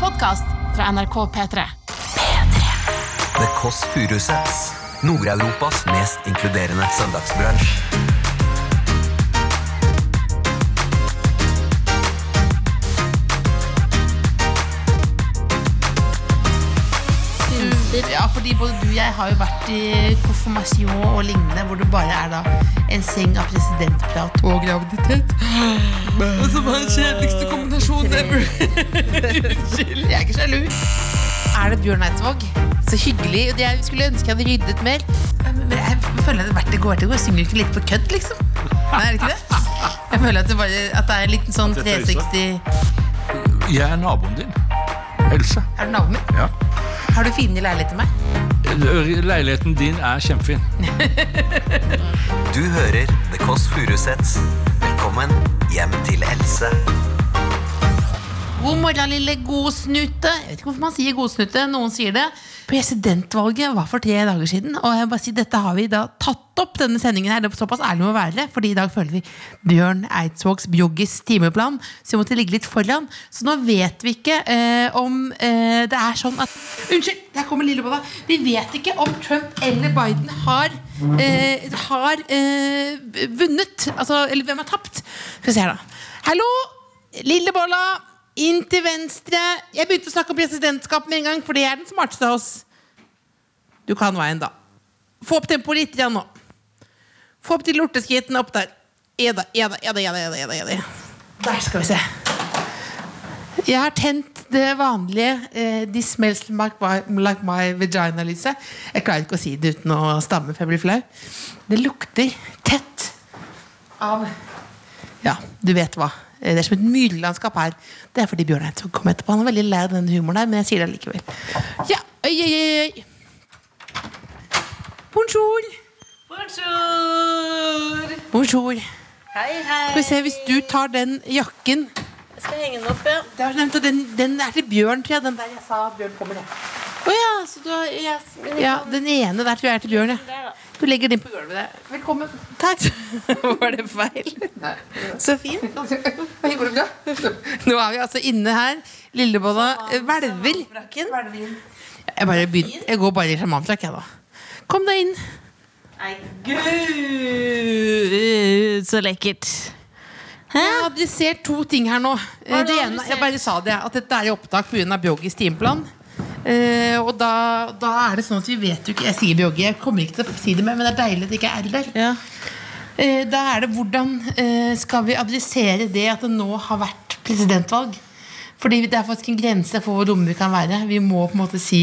podkast fra NRK P3. The Kåss Furuseths. Nord-Europas mest inkluderende søndagsbransj. Ja, fordi både du og jeg har jo vært i konfirmasjon og lignende, hvor det bare er da en seng av presidentprat og graviditet. Og som er den kjedeligste kombinasjonen ever. Unnskyld, jeg er ikke sjalu. Er det Bjørn Eidsvåg? Så hyggelig. og Jeg skulle ønske jeg hadde ryddet mer. Men jeg føler at hvert det går til går, synger du ikke litt på kødd, liksom? Nei, er det ikke det? Jeg føler at det, bare, at det er en liten sånn At det er tøyse. 360 Jeg er naboen din. Else. Er du naboen min? Ja. Har du finere leilighet til meg? Leiligheten din er kjempefin. Du hører The Kåss Furuseths. Velkommen hjem til Else. God morgen, lille godsnute. Jeg vet ikke hvorfor man sier godsnute. Noen sier det. Presidentvalget var for tre dager siden, og jeg vil bare si, dette har vi da tatt opp. denne sendingen her. Det er såpass ærlig må vi være, fordi i dag følger vi Bjørn Eidsvågs Bjoggis timeplan, så vi måtte ligge litt foran. Så nå vet vi ikke eh, om eh, det er sånn at Unnskyld, der kommer Lillebolla. Vi vet ikke om Trump eller Biden har, eh, har eh, vunnet. Altså, eller hvem har tapt. Skal vi se her, da. Hallo! Lille bolla, inn til venstre. Jeg begynte å snakke om presidentskap med en gang, for det er den smarteste av oss. Du kan veien, da. Få opp tempoet litt ja, nå. Få opp de lorteskrittene opp der. Eda, eda, eda, eda, eda, eda, eda. Der skal vi se. Jeg har tent det vanlige eh, This smells like my, like my vagina-lyset. Jeg klarer ikke å si det uten å stamme, for jeg blir flau. Det lukter tett av ja, du vet hva. Eh, Det er som et myrlandskap her. Det er fordi Bjørn Eidsvåg kom etterpå. Han er veldig lei av den humoren der, men jeg sier det likevel. Ja, øy, øy, øy, øy. Bonjour. Bonjour! Bonjour. Hei, hei. Skal vi se, hvis du tar den jakken Jeg skal henge den opp, ja. Det har jeg nevnt, og den, den er til Bjørn, tror jeg. Den der jeg sa Bjørn kommer, jeg. Å ja, så du har yes, men Ja, den ene der tror jeg er til Bjørn, jeg. Der, da. Du legger den på gulvet der. Velkommen. Takk. Var det feil? Så fint. Går det bra? Nå er vi altså inne her. Lillebolla eh, hvelver. Jeg, bare begynner, jeg går bare i sjamanfrakk, jeg, da. Kom deg inn. Nei, gud, så lekkert. Jeg har adressert to ting her nå. Eh, er det Det du ene, adressert? jeg bare sa det, at dette er i opptak pga. Bjoggis timeplan. Eh, og da, da er det sånn at vi vet jo ikke Jeg sier Bjoggi, jeg kommer ikke til å si det mer, men det er deilig at det ikke er R der. Eh, da er det hvordan eh, skal vi adressere det at det nå har vært presidentvalg? Fordi det er faktisk en grense for hvor dumme vi kan være. Vi må på en måte si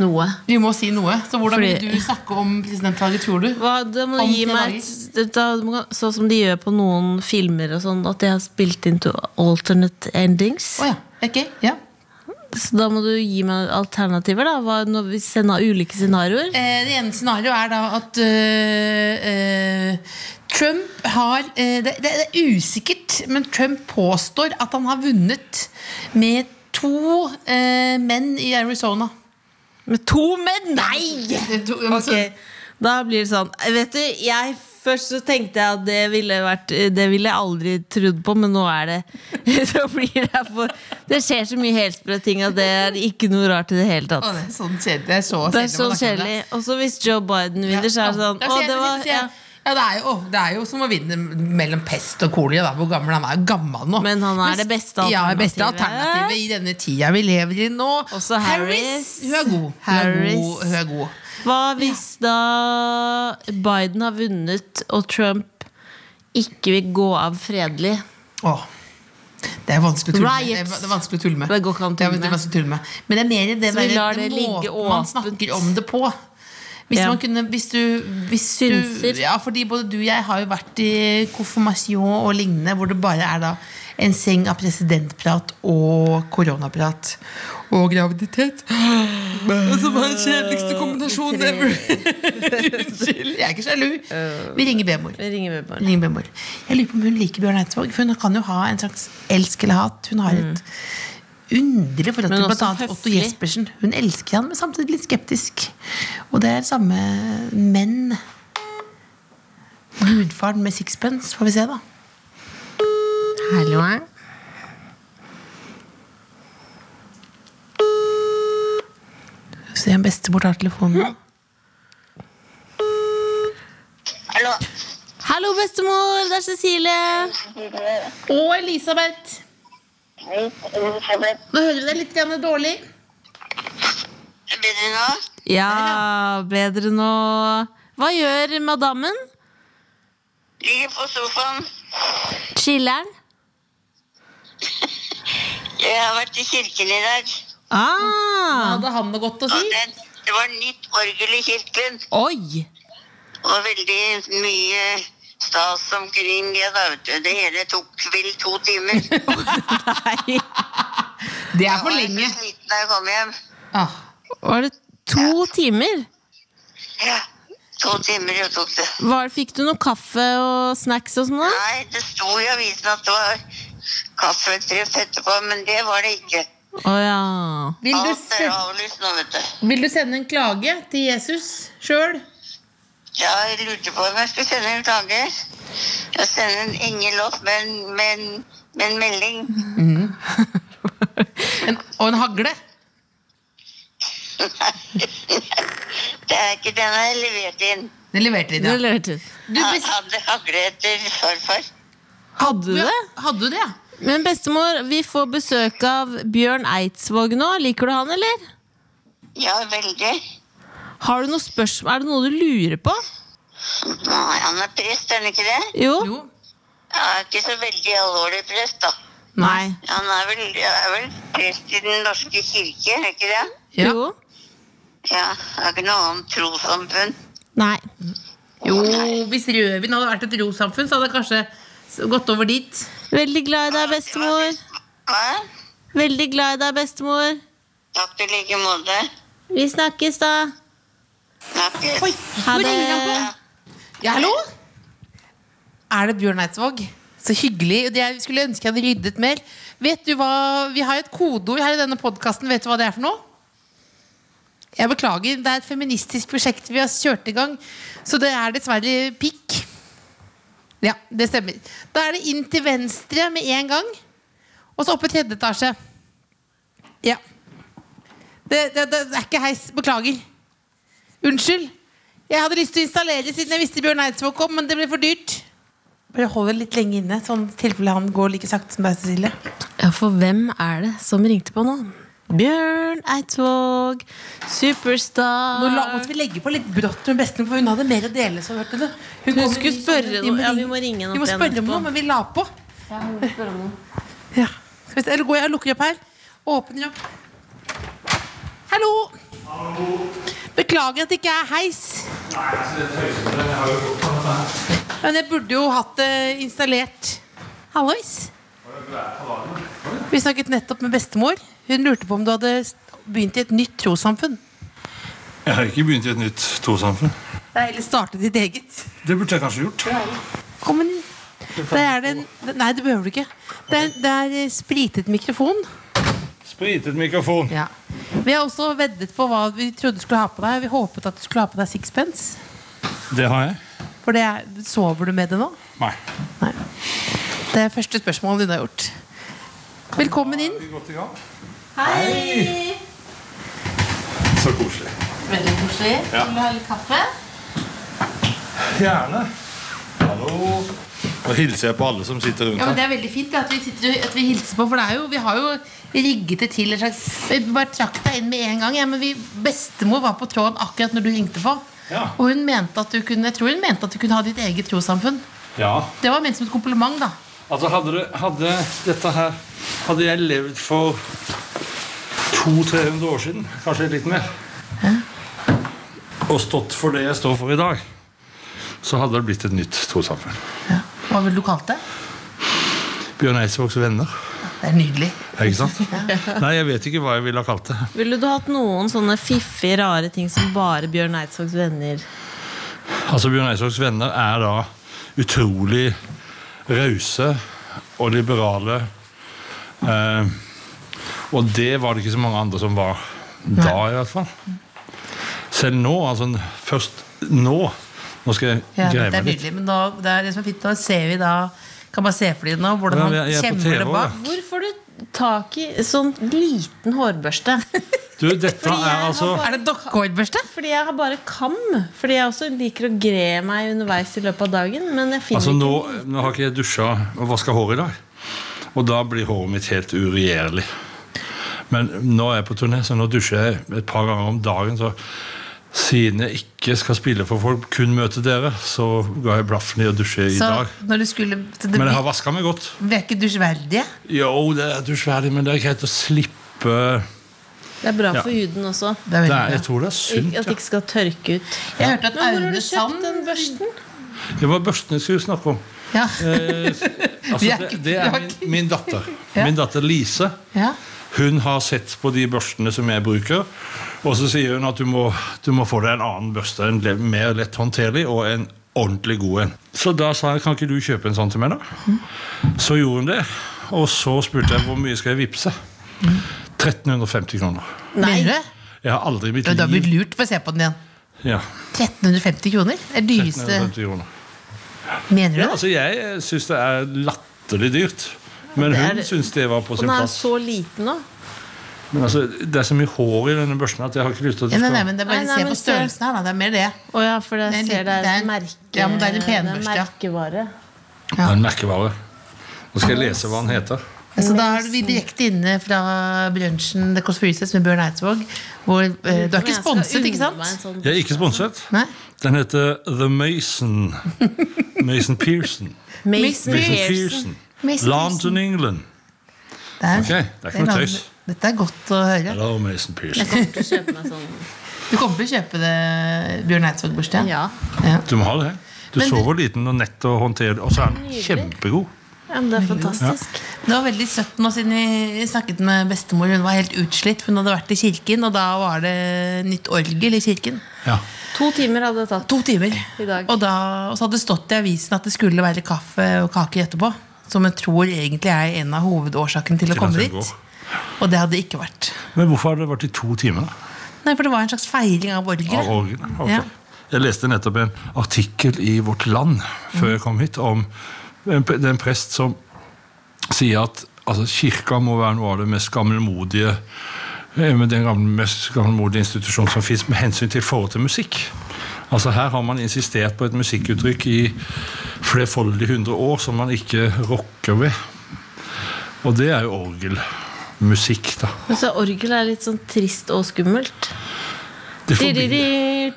Noe. Vi må si noe. Så hvordan Fordi- vil du snakke om presidentvalget, tror du? Hva, da må Om du gi tre meg et- da, må- Sånn som de gjør på noen filmer og sånn, at de har spilt inn to alternate endings. Å ja. Ok. Ja. Så da må du gi meg alternativer, da. Hva, når vi sender ulike scenarioer. Eh, Det ene scenarioet er da at øh, øh, Trump har øh, det, det er usikkert, men Trump påstår at han har vunnet med to øh, menn i Arizona. Med to menn? Nei! To, Ok, Da blir det sånn Vet du, jeg først så tenkte jeg at det ville vært Det ville jeg aldri trodd på, men nå er det Så blir det for Det skjer så mye helsprø ting at det er ikke noe rart i det hele Å, tatt. det er sånn kjedelig. Det er så Det kjedelig å snakke er så om det. kjedelig. Og så hvis Joe Biden vinner, så er det sånn Ja, Å, sier jeg, det var sier jeg. ja. Ja, det er, jo, åh, det er jo som å vinne mellom pest og kolera, da, hvor gammel han er. Gammel nå. Men han er det beste Ja, det beste alternativet. alternativet i denne tida vi lever i nå. Også Harris. Hun er god. Hun er Harris. god. Hun er god. Hva hvis da Biden har vunnet, og Trump ikke vil gå av fredelig? Åh. Det er vanskelig å tulle med. Det er, Riots. det er vanskelig å tulle med. Det går ikke an å Det er tulle veldig med. vanskelig å tulle med. Men det er mer i det, Så vi der- lar den det ligge måten man åpent. snakker om det på. Hvis Ja. man kunne Hvis du hvis Synser. Du, ja, fordi både du og jeg har jo vært i konfirmasjon og lignende, hvor det bare er da en seng av presidentprat og koronaprat. Og graviditet. Og som var den kjedeligste kombinasjonen ever. Unnskyld, jeg er ikke sjalu. Vi ringer B-mor. Vi ringer med barn. Linn Bemor. Jeg lurer på om hun liker Bjørn Eidsvåg. For hun kan jo ha en slags elsk eller hat. Hun har et underlig forhold Men til også bl.a. Otto høflig. Jespersen. Hun elsker han, men samtidig litt skeptisk. Og det er samme menn. Gudfaren med sixpence, får vi se, da. Hallo. se om bestemor tar telefonen. Hallo. Hallo, bestemor! Det er Cecilie! Å, Elisabeth! Hei, Elisabeth. Nå hører vi deg litt grann dårlig. Blir du nå? Ja, bedre nå. Hva gjør madammen? Ligger på sofaen. Chiller'n? Jeg har vært i kirken i dag. Ah, Hadde han noe godt å Og si? det, det var nytt orgel i kirken. oi! Og veldig mye stas omkring det. Da, vet du. Det hele tok vel to timer. Nei. Det er for Jeg var lenge. så sliten da jeg kom hjem. Ah, Var det to timer? Ja, to timer jo tok det. Var, fikk du noe kaffe og snacks og sånn? da? Nei, det sto i avisen at det var kaffetreff etterpå, men det var det ikke. Å ja. vil, du Alt er sende, avlyst nå, vet du. vil du sende en klage til Jesus sjøl? Ja, jeg lurte på om jeg skulle sende en klage. Jeg sender en engelott med, en- med, en- med en melding. Og en hagle? Det er ikke den jeg har levert inn. Den leverte vi, Ah, ja. Det lurte jeg. Du, Han best, hadde hagle etter farfar. Hadde du det? hadde du det, ja? Men bestemor, vi får besøk av Bjørn Eidsvåg nå. Liker du han, eller? Ja, veldig. Har du noe spørsmål? Er det noe du lurer på? Nei, han er prest, er han ikke det? Jo? Jo. Han er ikke så veldig alvorlig prest, da. Nei. Han er vel, er vel prest i Den norske kirke, er ikke det? Ja. Jo? Ja, det er ikke noe annet trossamfunn. Nei. Jo, hvis Rødvin hadde vært et rosamfunn, så hadde jeg kanskje s- gått over dit. Veldig glad i deg, bestemor. Hva? Veldig glad i deg, bestemor. Takk i like måte. Vi snakkes, da. Snakkes. Oi, Ha nå ringer han på. det. Ja, hallo? Er det Bjørn Eidsvåg? Så hyggelig. Det jeg skulle ønske jeg hadde ryddet mer. Vet du hva, Vi har jo et kodeord her i denne podkasten. Vet du hva det er for noe? Jeg beklager. Det er et feministisk prosjekt vi har kjørt i gang. Så det er dessverre pikk. Ja, det stemmer. Da er det inn til venstre med en gang. Og så opp i tredje etasje. Ja. Det, det, det er ikke heis. Beklager. Unnskyld. Jeg hadde lyst til å installere siden jeg visste Bjørn Eidsvåg kom, men det ble for dyrt. Bare hold det litt lenge inne, sånn i tilfelle han går like sakte som deg, Cecilie. Ja, for hvem er det som ringte på nå? Bjørn Eidsvåg, Nå la, superstar. måtte vi legge på litt brått med bestemor, for hun hadde mer å dele. Så hørte du. Hun, kom i skulle sommer. spørre Vi må noe. Ja, ringe- vi må ringe henne Vi må opp igjen spørre om etterpå. noe, men vi la på. Ja. Skal vi se, Eller går jeg og lukker opp her? Åpner opp. Hallo! Beklager at det ikke er heis. Men jeg burde jo hatt det installert. Hallois. Vi snakket nettopp med bestemor. Hun lurte på om du hadde begynt i et nytt trossamfunn. Jeg har ikke begynt i et nytt trossamfunn. Nei, eller startet ditt eget. Det burde jeg kanskje gjort. Kom inn. Der er det en Nei, det behøver du ikke. Det er, det er eh, spritet mikrofon. Spritet mikrofon. Vi har også veddet på hva vi trodde du skulle ha på deg. Vi håpet at du skulle ha på deg sixpence. Det har jeg. For det er, sover du med det nå? Nei. Nei. Det er første spørsmålet hun har gjort. Velkommen inn. Vi går til gang. Hei! Så koselig. Veldig koselig. Ja. Vil du ha litt kaffe? Gjerne. Hallo. Nå hilser jeg på alle som sitter rundt Ja, men her. Det er veldig fint at vi, sitter, at vi hilser på, for det er jo, vi har jo rigget det til. En slags, jeg bare trakk deg inn med en gang. Ja, men vi, bestemor var på tråden akkurat når du ringte på. Ja. Og hun mente at du kunne, jeg tror hun mente at du kunne ha ditt eget trossamfunn. Ja. Det var ment som et kompliment, da. Altså, hadde, det- hadde dette her Hadde jeg levd for 200-300 år siden, kanskje litt mer, og stått for det jeg står for i dag, så hadde det blitt et nytt trossamfunn. Hva ville du kalt det? Bjørn Eidsvågs venner. Det er nydelig. Ja, Ikke sant? Nei, jeg vet ikke hva jeg ville ha kalt det. Ville du hatt noen sånne fiffige, rare ting som bare Bjørn Eidsvågs venner? Altså, Bjørn Eidsvågs venner er da utrolig rause og liberale. Eh, og det var det ikke så mange andre som var da, i hvert fall. Selv nå, altså først nå Nå skal jeg Ja, det greie er meg litt. nydelig, men da, det er det som er fint. Da ser vi da Kan bare se for deg nå hvordan Ja, han vi er- jeg er på kjemmer TV det bak. Hvor får du tak i sånn liten hårbørste? Du, dette Fordi jeg er altså har Er det dokkehårbørste? Fordi jeg har bare kam. Fordi jeg også liker å gre meg underveis i løpet av dagen. Men jeg finner Altså nå, ikke nå har ikke jeg dusja og vaska håret i dag. Og da blir håret mitt helt uregjerlig. Men nå er jeg på turné, så nå dusjer jeg et par ganger om dagen. Så siden jeg ikke skal spille for folk, kun møte dere, så ga jeg blaffen i å dusje i Så dag. når du skulle så det, Men jeg har vaska meg godt. Vi er ikke dusjverdige. Jo, det er dusjverdig, men det er greit å slippe Det er bra Ja. for huden også. Det er det veldig er, bra. Jeg tror det er Ik- sunt. At det Ja. ikke skal tørke ut. Jeg hørte at Men hvor har Aune du Sand kjøpt den børsten? Det var børsten jeg skulle snakke om. ja. Eh, Vi altså, er det, ikke- det vi er er min, ikke- min datter. Ja. Min datter Lise. Ja. Hun har sett på de børstene som jeg bruker, og så sier hun at du må, du må få deg en annen børste, en le- mer lett håndterlig og en ordentlig god en. Så da sa jeg kan ikke du kjøpe en sånn til meg, da? Så gjorde hun det, og så spurte jeg hvor mye skal jeg vippse. 1350 kroner. Mener du? Jeg har aldri i mitt Du har blitt liv lurt. Få se på den igjen. ja, 1350 kroner? Det er dyreste 1350 kroner. Mener du Ja, det? altså, jeg syns det er latterlig dyrt. Men det er hun det. syns det var på Den sin er plass. så liten nå. Men altså, det er så mye hår i denne børsten at jeg har ikke lyst til at Ja, det nei, nei, skal men det er bare Nei, nei, Se men på størrelsen her, da. Det er mer det. Å ja, for jeg Det er en ser liten- det er en det er en- merke, ja, men det er en det er penbørste, ja. merkevare. Det er en merkevare. Nå skal jeg lese hva den heter. Så Altså, da er vi direkte inne fra brunsjen The Kåss Furuseths med Bjørn Eidsvåg. Hvor, eh, du er ikke sponset, ikke sant? Sånn. Jeg er ikke sponset. Nei? Den heter The Mason. Mason Pearson. Mason Mason Pearson. Pearson. Mason London, England. Det er, Ok, det er ikke noe tøys. Dette er godt å høre. Hello, Mason Pearson. Kommer til å kjøpe meg sånn. Du kommer til å kjøpe det Bjørn Eidsvåg-bursdag? Ja. Ja. Du må ha det. Du Men så du- hvor liten og nett og håndterlig, og så er den kjempegod. ja, men det er fantastisk. Det var veldig søtt nå siden vi snakket med bestemor. Hun var helt utslitt. for Hun hadde vært i kirken, og da var det nytt orgel i kirken. Ja. To timer hadde det tatt. To timer. I dag. Og, da, og så hadde det stått i avisen at det skulle være kaffe og kaker etterpå. Som jeg tror egentlig er en av hovedårsakene til å Til at komme hun dit. går. Og det hadde det ikke vært. Men hvorfor har det vært i to timer? da? Nei, For det var en slags feiring av Av orgelet. orgene? Ok. Ja. Jeg leste nettopp en artikkel i Vårt Land før jeg kom hit, om en, det er en prest som sier at altså, kirka må være noe av det mest gammelmodige eh, med den gamle, mest gammelmodige institusjonen som fins med hensyn til forhold til musikk. Altså Her har man insistert på et musikkuttrykk i flerfoldige hundre år som man ikke rokker ved. Og det er jo orgelmusikk, da. Men så orgel er litt sånn trist og skummelt. Det forbinder- ja,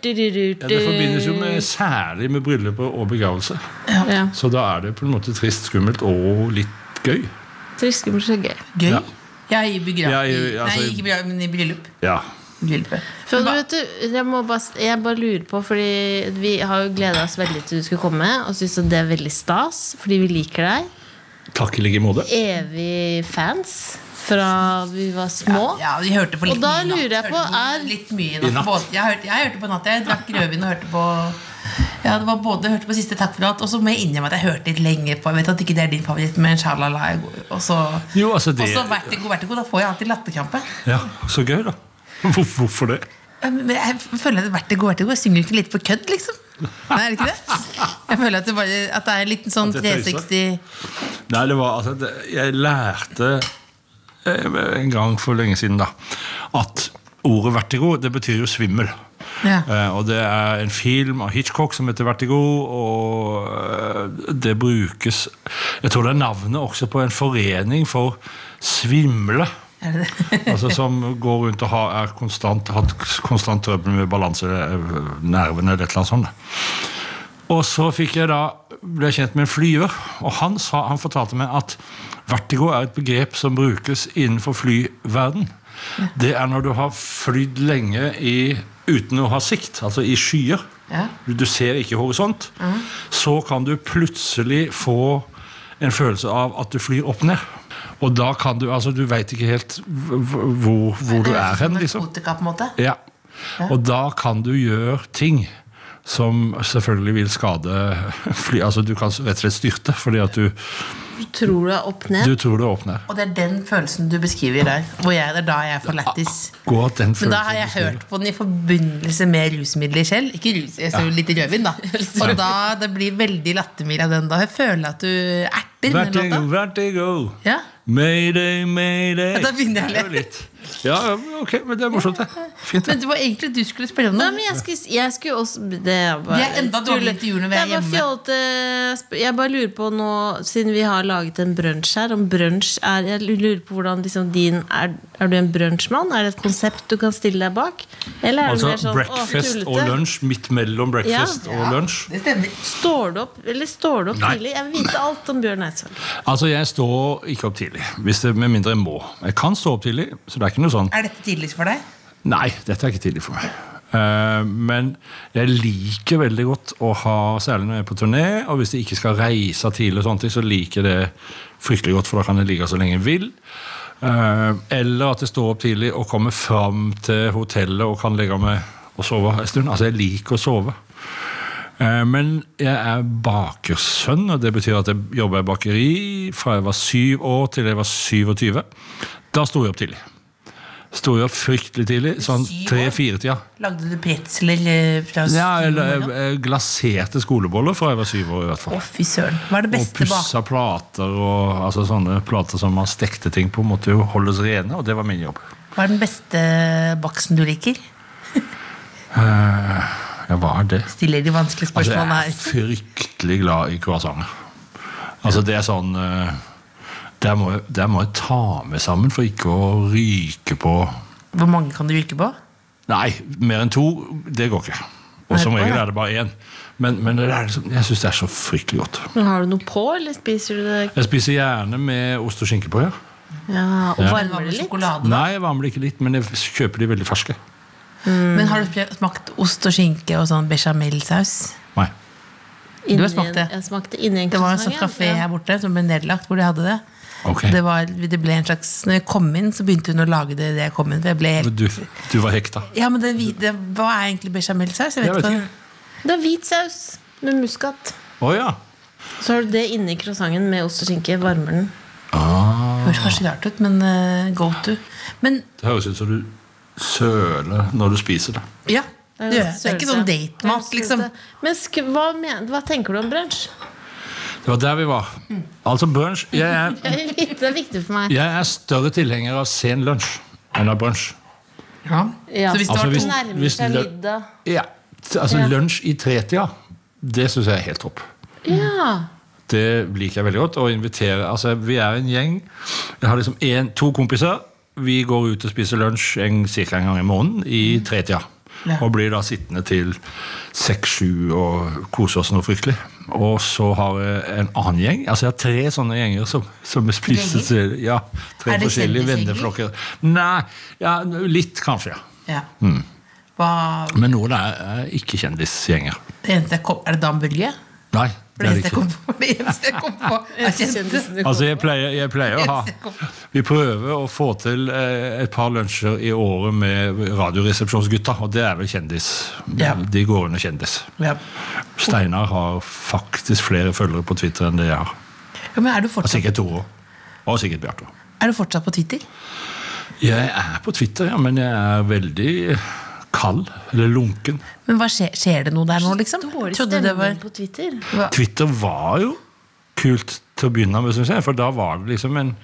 Det det forbindes jo med, særlig med brylluper og begravelse. ja. Så da er det på en måte trist, skummelt og litt gøy. Trist, skummelt og gøy. Gøy. Ja. Jeg begrav... Ja, jeg- altså- Nei, ikke begrav, men i bryllup. Ja. Bryllupet. For du vet du, jeg, må bare, jeg bare lurer på, fordi vi har jo gleda oss veldig til du skulle komme, og syns det er veldig stas, fordi vi liker deg. Takk i like måte. Evig fans fra vi var små. Ja, vi hørte på litt Og da mye i natt. lurer jeg Hørte på, på er- Litt mye i I natt. natt? Både, jeg, hørte, jeg hørte på natt. Jeg drakk rødvin og hørte på Ja, det var både hørte på siste takk for alt, og så må jeg innrømme at jeg hørte litt lenge på Jeg vet at ikke det er din favoritt, men shalala er god. Og så Jo, altså det- og så vertigo, vertigo. Da får jeg alltid latterkrampe. Ja, Så gøy, da. Hvor, hvorfor det? Men jeg føler at vertigo, vertigo Jeg synger ikke litt på kødd, liksom. Nei, er det ikke det? Jeg føler at det, bare, at det er en liten sånn At det er tøysa. 360 Nei, det var altså det, Jeg lærte eh, en gang for lenge siden da at ordet vertigo, det betyr jo svimmel. Ja. Eh, og det er en film av Hitchcock som heter Vertigo, og eh, det brukes Jeg tror det er navnet også på en forening for svimle. Er det det? altså Som går rundt og har, er konstant, hatt konstant trøbbel med balanse, eh, nervene eller et eller annet sånt. da. Og så fikk jeg da, ble jeg kjent med en flyver, og han, sa, han fortalte meg at vertigo er et begrep som brukes innenfor flyverden. Det er når du har flydd lenge i, uten å ha sikt, altså i skyer. Ja. Du ser ikke horisont. Så kan du plutselig få en følelse av at du flyr opp ned. Og da kan du altså Du veit ikke helt hv- hv- hvor, hvor du er sånn hen, liksom. Narkotika, på en måte. Ja. Og da kan du gjøre ting som selvfølgelig vil skade fly. Altså Du kan rett og slett styrte fordi at du, Du tror du er opp ned. du tror det åpner. Og det er den følelsen du beskriver der. Hvor jeg, det er da jeg får lættis. Akkurat Men den da følelsen har jeg du beskriver. hørt på den i forbindelse med rusmidler selv. Ikke rus, jeg ser jo litt rødvin, da. Og da det blir veldig lattermild av den. da Jeg føler at du erter den Vertigo, låta. vertigo. Ja. Mayday, mayday. Ja, da begynner jeg å le. Det er jo litt. Ja, ja, ok, men det er morsomt, det. Fint. Men det var egentlig du skulle spørre om Nei, noe. men jeg skulle, jeg skulle også Det er, bare, Det er enda dårligere intervjuer tulle. når vi Det er bare hjemme. fjollete sp- Jeg bare lurer på nå, siden vi har laget en brunsj her, om brunsj er Jeg lurer på hvordan liksom din Er, er du en brunsjmann? Er det et konsept du kan stille deg bak? Eller er du Altså mer sånn breakfast å, og tullete? lunsj midt mellom breakfast Ja. og lunsj. Det stemmer. Står du opp eller står du opp Nei. tidlig? Jeg vil vite alt om Bjørn Eidsvåg. Altså, jeg står ikke opp tidlig, hvis det, med mindre jeg må. Jeg kan stå opp tidlig, så det er ikke noe sånn Er dette tidlig for deg? Nei, dette er ikke tidlig for meg. Eh, men jeg liker veldig godt å ha, særlig når jeg er på turné, og hvis jeg ikke skal reise tidlig, og sånne ting, så liker jeg det fryktelig godt, for da kan jeg ligge så lenge jeg vil. Eh, eller at jeg står opp tidlig og kommer fram til hotellet og kan legge meg og sove en stund. Altså, jeg liker å sove. Eh, Men jeg er bakersønn, og det betyr at jeg jobba i bakeri fra jeg var syv år til jeg var 27. Da sto jeg opp tidlig. Sto jeg opp fryktelig tidlig, sånn Syv år? tre-fire-tida. Lagde du pretzler eh, fra Ja, eller morgenen? jeg- jeg glaserte skoleboller fra jeg var syv år. i Å, hvert fall. fy søren. Hva er det Og beste bak? pussa plater og altså sånne plater som man stekte ting på, måtte jo holdes rene, og det var min jobb. Hva er den beste baksten du liker? Eh, Ja, hva er det? Stiller de vanskelige Altså, jeg spørsmålene er her. fryktelig glad i croissanter. Altså, det er sånn eh, der må, jeg, der må jeg ta med sammen for ikke å ryke på Hvor mange kan du ryke på? Nei, mer enn to, det går ikke. Nei, Og som å, regel ja. er det bare én. Men, men det er liksom, jeg syns det er så fryktelig godt. Men har du noe på, eller spiser du det Jeg spiser gjerne med ost og skinke på. Ja. Ja, og Hva varmer med det litt? sjokolade? Nei, jeg varmer det ikke litt, men jeg kjøper de veldig ferske. Men har du pre- smakt ost og skinke og sånn bechamelsaus? Nei. Inni har smakt en- det. Jeg smakte inni en Det var en sånn croissant, ja. kafé her borte som ble nedlagt, hvor de hadde det. Ok. Det, var, det ble en slags Når jeg kom inn, så begynte hun å lage det da jeg kom inn. For jeg ble helt Du, du var hekta. Ja, men det, hvite- Hva er egentlig bechamelsaus? Jeg Jeg vet vet ikke. ikke. Det er hvit saus med muskat. Å ja. Så har du det inni croissanten med ost og skinke. Varmer den. Det høres kanskje rart ut, men eh, go to. Men Det høres ut som du søler når du spiser det. ja, det, gjør jeg. det er ikke sånn Sølete. datemat, Det er liksom. sølete. Men sk hva, men hva tenker du om brunsj? Det var der vi var. Altså brunsj jeg er, Det er viktig- det er viktig for meg. jeg er større tilhenger av sen lunsj enn av brunsj. Ja. Ja. Så hvis det Altså, var hvis- Det to nærmer hvis seg det- middag. Ja. Altså Ja. lunsj i tretida, det syns jeg er helt topp. Ja. Det liker jeg veldig godt. Å invitere Altså, vi er en gjeng. Jeg har liksom en, to kompiser. Vi går ut og spiser lunsj en, cirka en gang i måneden i tretida. Mm. Ja. Og blir da sittende til seks-sju og kose oss noe fryktelig. Og så har jeg en annen gjeng. Altså Jeg har tre sånne gjenger som, som jeg spiser til ja, tre Er det forskjellige kjendisgjenger? venneflokker. Nei, ja, litt kanskje, ja. ja. Mm. Hva, Men noen er, er ikke kjendisgjenger. det eneste jeg kom, er det Dan Børge? Nei, For det det er det eneste jeg ikke. kom på. Det eneste jeg kom på er kjendis. Altså, jeg pleier, jeg pleier å ha Vi prøver å få til eh, et par lunsjer i året med Radioresepsjonsgutta, og det er vel kjendis. Ja. De går under kjendis. Ja. Steinar har faktisk flere følgere på Twitter enn det jeg har. Ja, men er du, Og fortsatt, sikkert Tore. Og sikkert Bjarte. er du fortsatt på Twitter? Jeg er på Twitter, ja, men jeg er veldig kald. Eller lunken. Men hva skjer, skjer det noe der nå, liksom? Dårlig Trodde det var stemning på Twitter. Twitter var jo kult til å begynne med, synes jeg. For da var det liksom en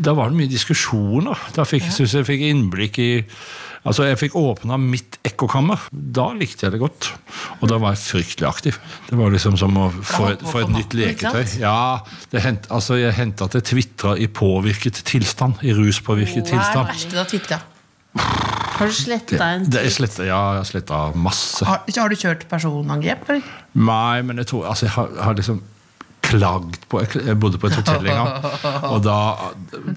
Da var det mye diskusjoner. Da fikk, synes jeg fikk innblikk i Altså, jeg fikk åpna mitt ekkokammer. Da likte jeg det godt. Og da var jeg fryktelig aktiv. Det var liksom som å få et, få et nytt leketøy. Ja, det hent, altså Jeg hendte at jeg tvitra i påvirket tilstand. I Hva er ruspåvirket det tilstand. verste du har tvitra? Har du sletta en Det, det, jeg sletta, ja, jeg sletta masse. Har, har du kjørt personangrep? eller? Nei, men jeg tror altså, jeg har, har liksom klagd på jeg, jeg bodde på et hotell en gang, og da,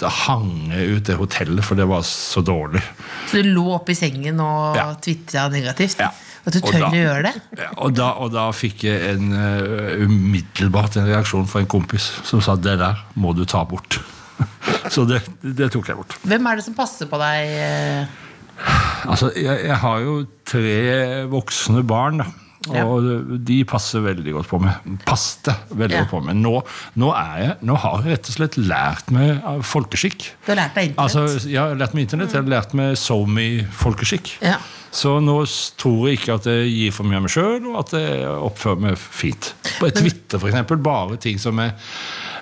da hang jeg ut det hotellet, for det var så dårlig. Så du lå oppe i sengen og Ja. tvitra negativt? Ja. At du Og tør da- å gjøre det? Ja, Og da, og da fikk jeg en, eh, umiddelbart en reaksjon fra en kompis som sa 'det der må du ta bort'. Så det, det tok jeg bort. Hvem er det som passer på deg? eh? Altså, jeg, jeg har jo tre voksne barn, da. Og de passer veldig godt på meg. Passte veldig Ja. godt på meg. Nå, nå, er jeg, nå har jeg rett og slett lært meg eh, folkeskikk. Du har lært deg internett. Altså, jeg har lært meg internett, jeg har lært meg SoMe-folkeskikk. Ja. Så nå s- tror jeg ikke at jeg gir for mye av meg sjøl, og at jeg oppfører meg fint. På Twitter, for eksempel, bare ting som er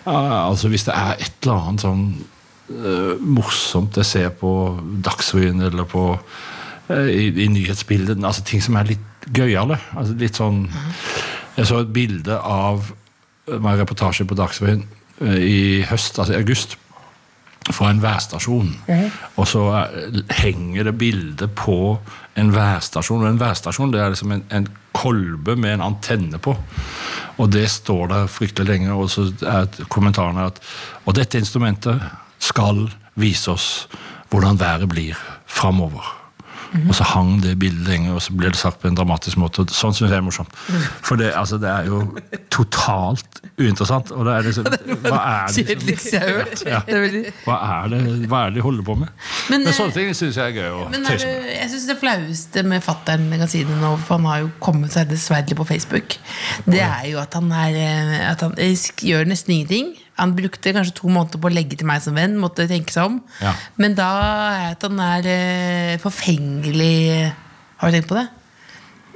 ja, Altså, hvis det er et eller annet sånn eh, morsomt jeg ser på Dagsrevyen eller på eh, i, i nyhetsbildet. Altså ting som er litt gøyale. Altså litt sånn Jeg så et bilde av det var en reportasje på Dagsrevyen eh, i høst, altså i august. Fra en værstasjon. Og så er- henger det bilde på en værstasjon. Og en værstasjon det er liksom en, en kolbe med en antenne på. Og det står der fryktelig lenge, og så er et- kommentaren er at Og dette instrumentet skal vise oss hvordan været blir framover. Og så hang det bildet lenge, og så ble det sagt på en dramatisk måte. og Sånn syns jeg er morsomt. For det, altså, det er jo totalt uinteressant. Og det er liksom Hva er det som Kjedeligste jeg har hørt. Ja. Det er veldig... hva er det, hva er det de holder på med? Men, Men, eh, Sånne ting syns jeg er gøy å Men er tøyse det, med. jeg synes det flaueste med fattern jeg kan si det nå, for han har jo kommet seg dessverre på Facebook, det er jo at han, er, eh, at han eh, sk- gjør nesten ingenting. Han brukte kanskje to måneder på å legge til meg som venn, måtte tenke seg om. Ja. Men da er at han er eh, forfengelig Har du tenkt på det?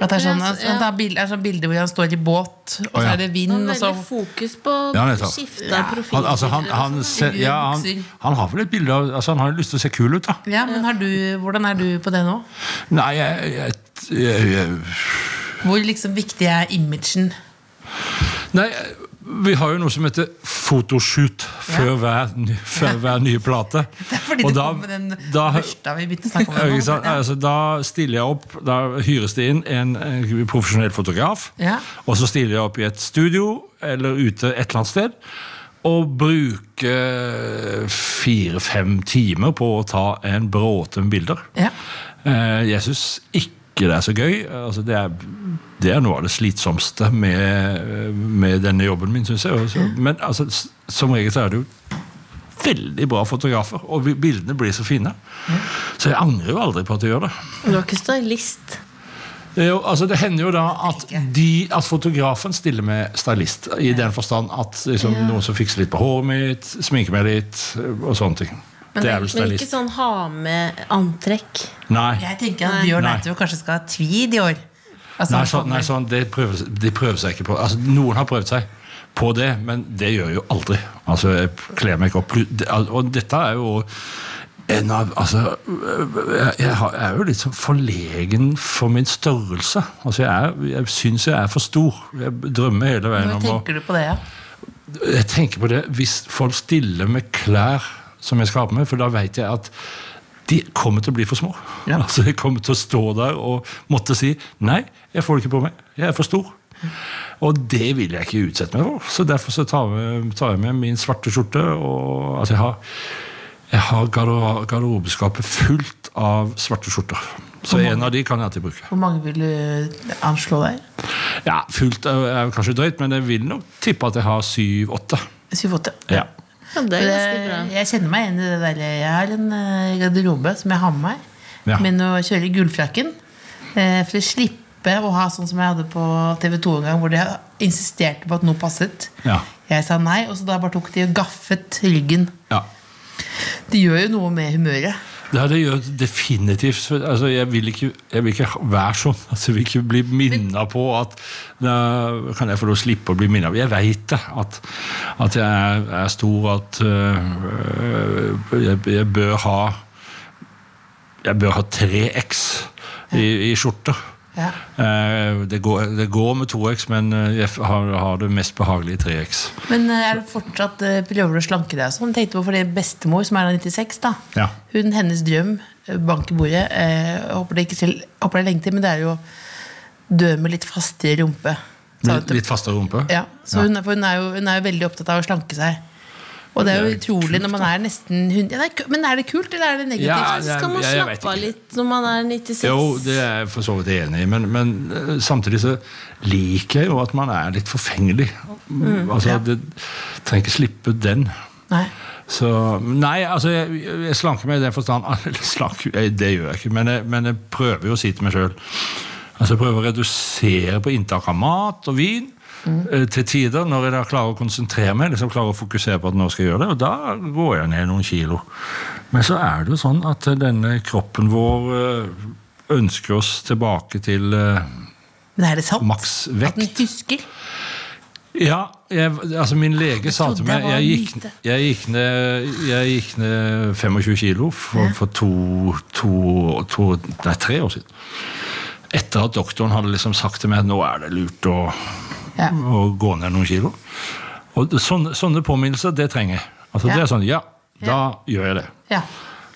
At det er sånn, Ja, så- altså, han tar bilder, er sånn bilder hvor han står i båt, og Å, så ja. er det vind, Han og har så veldig fokus på altså. Ja, å nettopp. skifte av profil. Han, altså, han, han, ser, ja, han, han har vel et bilde av altså, Han har jo lyst til å se kul ut, da. ja, men har du, Hvordan er du på det nå? Nei, jeg, jeg, jeg, jeg Hvor liksom viktig er imagen? Nei, vi har jo noe som heter fotoshoot før, hver, ny- før hver nye plate. Det er fordi Og det da- kom med den da- bursdagen vi begynte å snakke om. Ja, det nå. ikke sant? Altså, da stiller jeg opp, da hyres det inn en, en profesjonell fotograf. Ja. Og så stiller jeg opp i et studio eller ute et eller annet sted. Og bruker fire-fem timer på å ta en bråte med bilder. Ja. Eh, Jeg syns ikke det er så gøy. Altså, det, er, det er noe av det slitsomste med, med denne jobben min, syns jeg. Også. Men altså, s- som regel så er det jo veldig bra fotografer, og vi- bildene blir så fine. Så jeg angrer jo aldri på at jeg gjør det. Du var ikke stylist. Det, er jo, altså, det hender jo da at, de, at fotografen stiller med stylist, i den forstand at liksom, noen som fikser litt på håret mitt, sminker meg litt, og sånne ting. det er Men vel ikke stylist. sånn ha med antrekk. Nei. Jeg tenker at Bjørn Nei. Eitrov kanskje skal ha tweed i år. Altså, Nei, han sånn, nei kommer- sånn, det prøver, de prøver seg ikke på. Altså, noen har prøvd seg på det, men det gjør jeg jo aldri. Altså, jeg kler meg ikke opp. Plu- det- al- Og dette er jo en av Altså, jeg, jeg har- jeg er jo litt sånn forlegen for min størrelse. Altså, jeg, er- jeg syns jeg er for stor. Jeg drømmer hele veien Nå om å tenker du på det, ja. jeg tenker på det hvis folk stiller med klær som jeg skal ha på meg, for da vet jeg at de kommer til å bli for små. Ja. Altså, jeg kommer til å stå der og måtte si nei, jeg får det ikke på meg. Jeg er for stor. Og det vil jeg ikke utsette meg for. Så derfor så tar, jeg- tar jeg med min svarte skjorte. Og, altså jeg har, jeg har gardero- garderobeskapet fullt av svarte skjorter. Så en av de kan jeg alltid bruke. Hvor mange vil du anslå der? Ja, Fullt er jo- er jo kanskje drøyt, men jeg vil nok tippe at jeg har syv-åtte. Syv-åtte. Ja. Ja, det er ganske bra. Eh, Jeg kjenner meg igjen i det der. Jeg har en eh, garderobe som jeg har med meg, Ja. men å kjøre i gullfrakken eh, for å slippe å ha sånn som jeg hadde på TV 2 en gang, hvor de insisterte på at noe passet. Ja. Jeg sa nei, og så da bare tok de og gaffet ryggen. ja. Det gjør jo noe med humøret. Ja, det gjør definitivt altså, jeg, vil ikke, jeg vil ikke være sånn. Altså, jeg vil ikke bli minna på at da Kan jeg få lov å slippe å bli minna på Jeg veit det. At, at jeg er, er stor, at øh, jeg, jeg bør ha Jeg bør ha 3X i, i skjorter. Ja. Eh, Det, går, det går med 2X, men eh, jeg har, har det mest behagelige i 3X. Men eh, er du fortsatt eh, prøver du å slanke deg og sånn? Tenkte på fordi bestemor, som er da 96, da. Ja. Hun, hennes drøm, eh, bank i bordet. Eh, håper det ikke til, håper det er lenge til, men det er jo dø med litt fastere rumpe. sa hun Litt, til- litt fastere rumpe? Ja, så Ja. Hun, er, for hun, er jo, hun er jo veldig opptatt av å slanke seg. Og det er jo Det er jo utrolig kult, når man er nesten hun, ja, det er ku- Men er det kult, eller er det negativt? Ja, det- Skal man jeg- jeg vet slappe av ikke. litt når man er 96? Jo, det er jeg for så vidt enig i, men, men eh, samtidig så liker jeg jo at man er litt forfengelig. Altså, det trenger ikke slippe den. Nei. Så, nei, altså jeg, jeg slanker meg i den forstand eller slanker, jeg, Det gjør jeg ikke, men jeg, men jeg prøver jo å si til meg sjøl altså Jeg prøver å redusere på inntak av mat og vin eh, til tider, når jeg da klarer å konsentrere meg. liksom klarer å fokusere på at nå skal jeg gjøre det, og Da går jeg ned noen kilo. Men så er det jo sånn at eh, denne kroppen vår eh, ønsker oss tilbake til eh, Men er det sant? maks At den vekt. husker? Ja, jeg, altså min lege sa til trodde meg jeg var Jeg gikk, lite. jeg gikk, ned, jeg gikk ned 25 kilo for, for to, to, to Nei, tre år siden. Etter at doktoren hadde liksom sagt til meg at nå er det lurt å, Ja. å gå ned noen kilo. Og det- sånne, sånne påminnelser, det trenger jeg. Altså, Det Ja. er sånn, ja, da gjør jeg det. Ja. ja,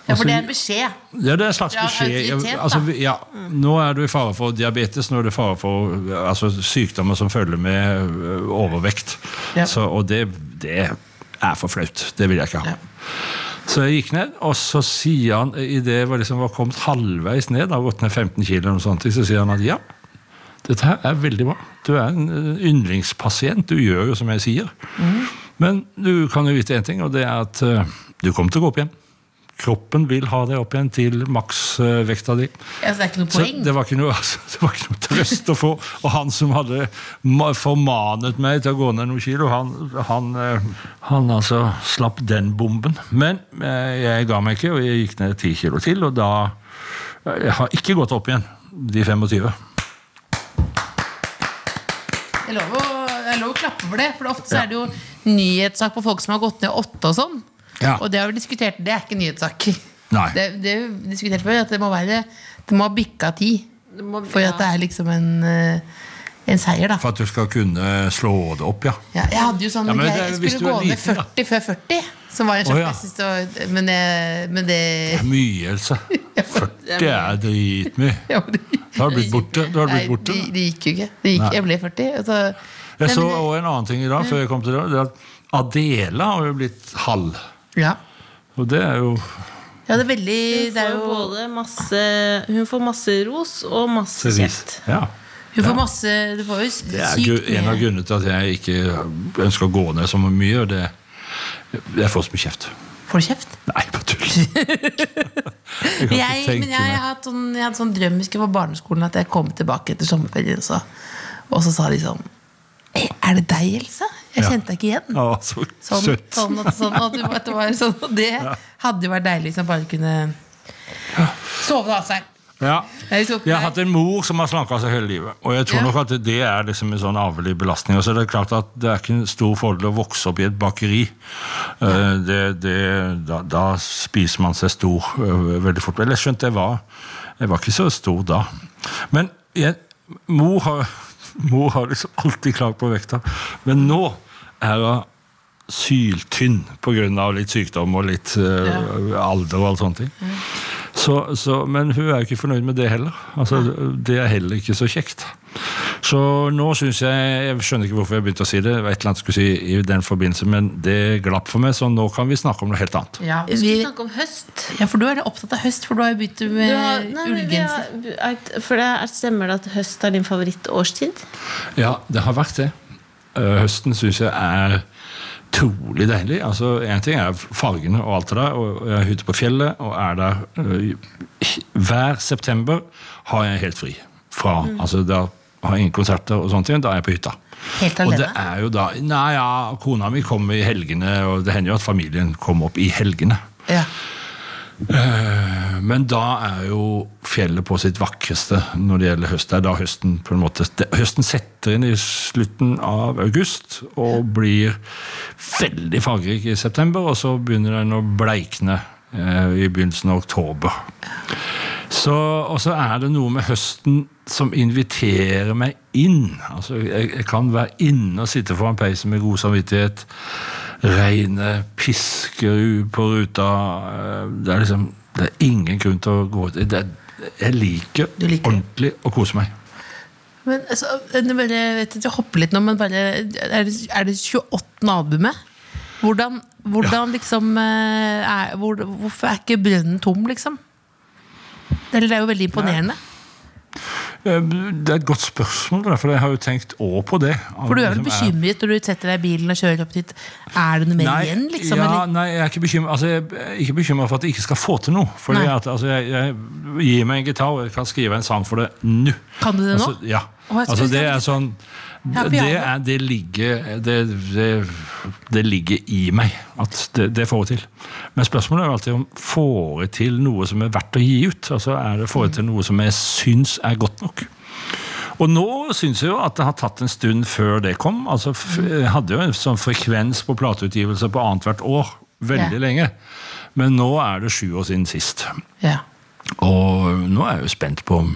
Altså, for det er en beskjed. Ja, det er en slags Ja, beskjed. autoritet, Ja, da. altså, vi- ja, nå er du i fare for diabetes, nå er du i fare for altså, sykdommer som følger med ø, overvekt. Ja. Så, og det, det er for flaut. Det vil jeg ikke ha. Ja. Så jeg gikk ned, og så sier han, idet jeg var liksom var kommet halvveis ned, da, gått ned 15 kilo, eller noe sånt, så sier han at ja, dette her er veldig bra. Du er en ø, yndlingspasient. Du gjør jo som jeg sier. Mhm. Men du kan jo vite én ting, og det er at ø, du kommer til å gå opp igjen. Kroppen vil ha deg opp igjen til maksvekta di. Ja, så det er ikke noe Så poeng. det var ikke noe, altså, det var ikke noe trøst å få. Og han som hadde ma- formanet meg til å gå ned noen kilo, han, han, eh, han altså slapp den bomben. Men eh, jeg ga meg ikke, og jeg gikk ned ti kilo til, og da eh, Jeg har ikke gått opp igjen, de 25. Jeg lover å, jeg lover å klappe for det. For ofte så er det jo nyhetssak på folk som har gått ned åtte og sånn. Ja. Og det har vi diskutert. Det er ikke nyhetssak. Nei. Det, det har vi diskutert før, at det må være Det må ha bikka ti. For at det er liksom en, eh, en seier, da. For at du skal kunne slå det opp, ja. Ja, jeg hadde jo sånn Ja, men greie. det er- Jeg hvis du skulle er gå ned liten, da. 40 før 40. Som var en slags Å, ja. jeg synes det var, Men, jeg, men det Mye, Else. 40 er dritmye. ja, men det- Da har du blitt borte. Da har du Nei, blitt borte. det, det gikk jo ikke. Det gikk, Nei. jeg ble 40. Og så, Jeg Nei, så men det- også en annen ting i dag, før jeg kom til det, det er at Adela har jo blitt halv. ja. Og det er jo ja, det er veldig det Hun får er jo jo, både masse Hun får masse ros og masse kjeft. Ja. Hun får masse Du får jo Det er sykt gru- en av mye. grunnene til at jeg ikke ønsker å gå ned så mye. og Det, jeg får så mye kjeft. Får du kjeft? Nei, bare tull. Jeg kan ikke Jeg, tenke men jeg, meg- har hatt sånn, jeg hadde sånn drøm jeg skulle på barneskolen at jeg kom tilbake etter sommerferien. Så, og så sa de sånn «Eh, Er det deg, Else? Jeg Ja. kjente deg ikke igjen. Å, så Sånn, søtt. sånn, at, sånn, at, det var- at det var sånn Og det hadde jo vært deilig hvis man bare kunne sove det av seg. Ja. Jeg så ikke Jeg har deg. hatt en mor som har slanka seg hele livet. Og jeg tror Ja. nok at det er liksom en sånn arvelig belastning. Og så er det klart at det er ikke en stor fordel å vokse opp i et bakeri. Eh, Det, det, da, da spiser man seg stor eh, veldig fort. Eller jeg skjønte jeg var Jeg var ikke så stor da. Men jeg, mor, har, mor har liksom alltid klagd på vekta. Men nå er hun syltynn pga. litt sykdom og litt eh, alder og alt sånne ting. Så, så, men hun er jo ikke fornøyd med det heller. Altså, det er heller ikke så kjekt. Så nå syns jeg Jeg skjønner ikke hvorfor jeg begynte å si det, det var et eller annet jeg skulle si i den forbindelse, men det glapp for meg, så nå kan vi snakke om noe helt annet. Ja. Vi skal Vi, snakke om høst. ja, for du er opptatt av høst, for du har jo begynt Du med har, nei, men vi ullgenser. har, er- for det er, stemmer det at høst er din favorittårstid? Ja, det har vært det. Eh, Høsten syns jeg er trolig deilig. Altså, Én ting er fargene og alt det der, og jeg er ute på fjellet og er der eh, Hver september har jeg helt fri fra. Altså, da har jeg ingen konserter og sånne ting, da er jeg på hytta. Helt Og det alene? er jo da Nei, ja, kona mi kommer i helgene, og det hender jo at familien kommer opp i helgene. Eh, Ja. Men da er jo fjellet på sitt vakreste når det gjelder høst. Det er da høsten på en måte det- Høsten setter inn i slutten av august og blir veldig fargerik i september, og så begynner den å bleikne eh, i begynnelsen av oktober. Så, og så er det noe med høsten som inviterer meg inn. Altså, jeg, jeg kan være inne og sitte foran peisen med god samvittighet. Regnet pisker u- på ruta. eh, Det er liksom det er ingen grunn til å gå ut. Det er, jeg liker, Du liker det. ordentlig å kose meg. Men altså, jeg bare, jeg vet at jeg hopper litt nå, men bare, er, det, er det 28. albumet? Hvordan, hvordan liksom eh, er, hvor, Hvorfor er ikke brønnen tom, liksom? Eller det er jo veldig imponerende. Eh, Det er et godt spørsmål, da, for jeg har jo tenkt år på det. For du er vel Liksom, er- bekymret når du setter deg i bilen og kjører opp dit. Er det noe mer igjen, liksom? ja, eller? Nei, jeg er ikke bekymret altså, jeg er ikke bekymret for at jeg ikke skal få til noe. Fordi Nei. at, altså, jeg, jeg gir meg en gitar, og jeg kan skrive en sang for det nå. Kan du det nå? Altså, ja. Å, jeg Altså, skulle det si- er sånn Ja, det, piano. er, det, ligger, det, det, det ligger i meg at det, det får jeg til. Men spørsmålet er jo alltid om får jeg til noe som er verdt å gi ut? Altså, er det Får jeg til noe som jeg syns er godt nok? Og nå syns jeg jo at det har tatt en stund før det kom. altså f Jeg hadde jo en sånn frekvens på plateutgivelser på annethvert år veldig Ja. lenge. Men nå er det sju år siden sist. Ja. Og nå er jeg jo spent på om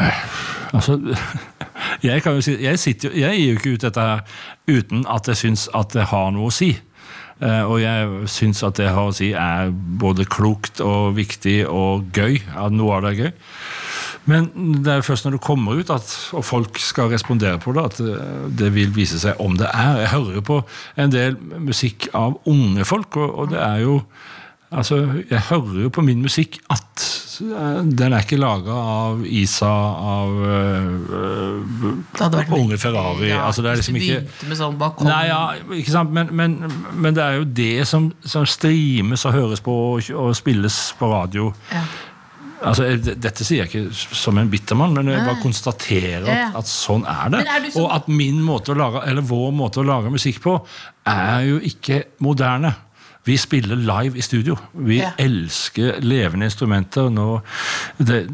eh, Altså jeg, kan jo si, jeg, sitter, jo- jeg gir jo ikke ut dette her uten at jeg syns at det har noe å si. Eh, Og jeg syns at det har å si er både klokt og viktig og gøy. At noe av det er gøy. Men det er først når du kommer ut, at, og folk skal respondere på det, at eh, det vil vise seg om det er. Jeg hører jo på en del musikk av unge folk, og, og det er jo Altså, jeg hører jo på min musikk at eh, den er ikke laga av Isa, av eh, Det hadde vært Unge Ferrari, altså, det er hvis liksom du ikke- begynte med sånn balkong. Nei, ja, ikke sant? Men, men, men det er jo det som, som streames og høres på og, og spilles på radio. Ja. Altså, jeg- d- dette sier jeg ikke som en bitter mann, men jeg bare konstaterer Ja, ja. at, at sånn er det. Men er du sånn- Og at min måte å lage, eller vår måte å lage musikk på er jo ikke moderne. Vi spiller live i studio. Vi Ja. elsker levende instrumenter. Nå, det,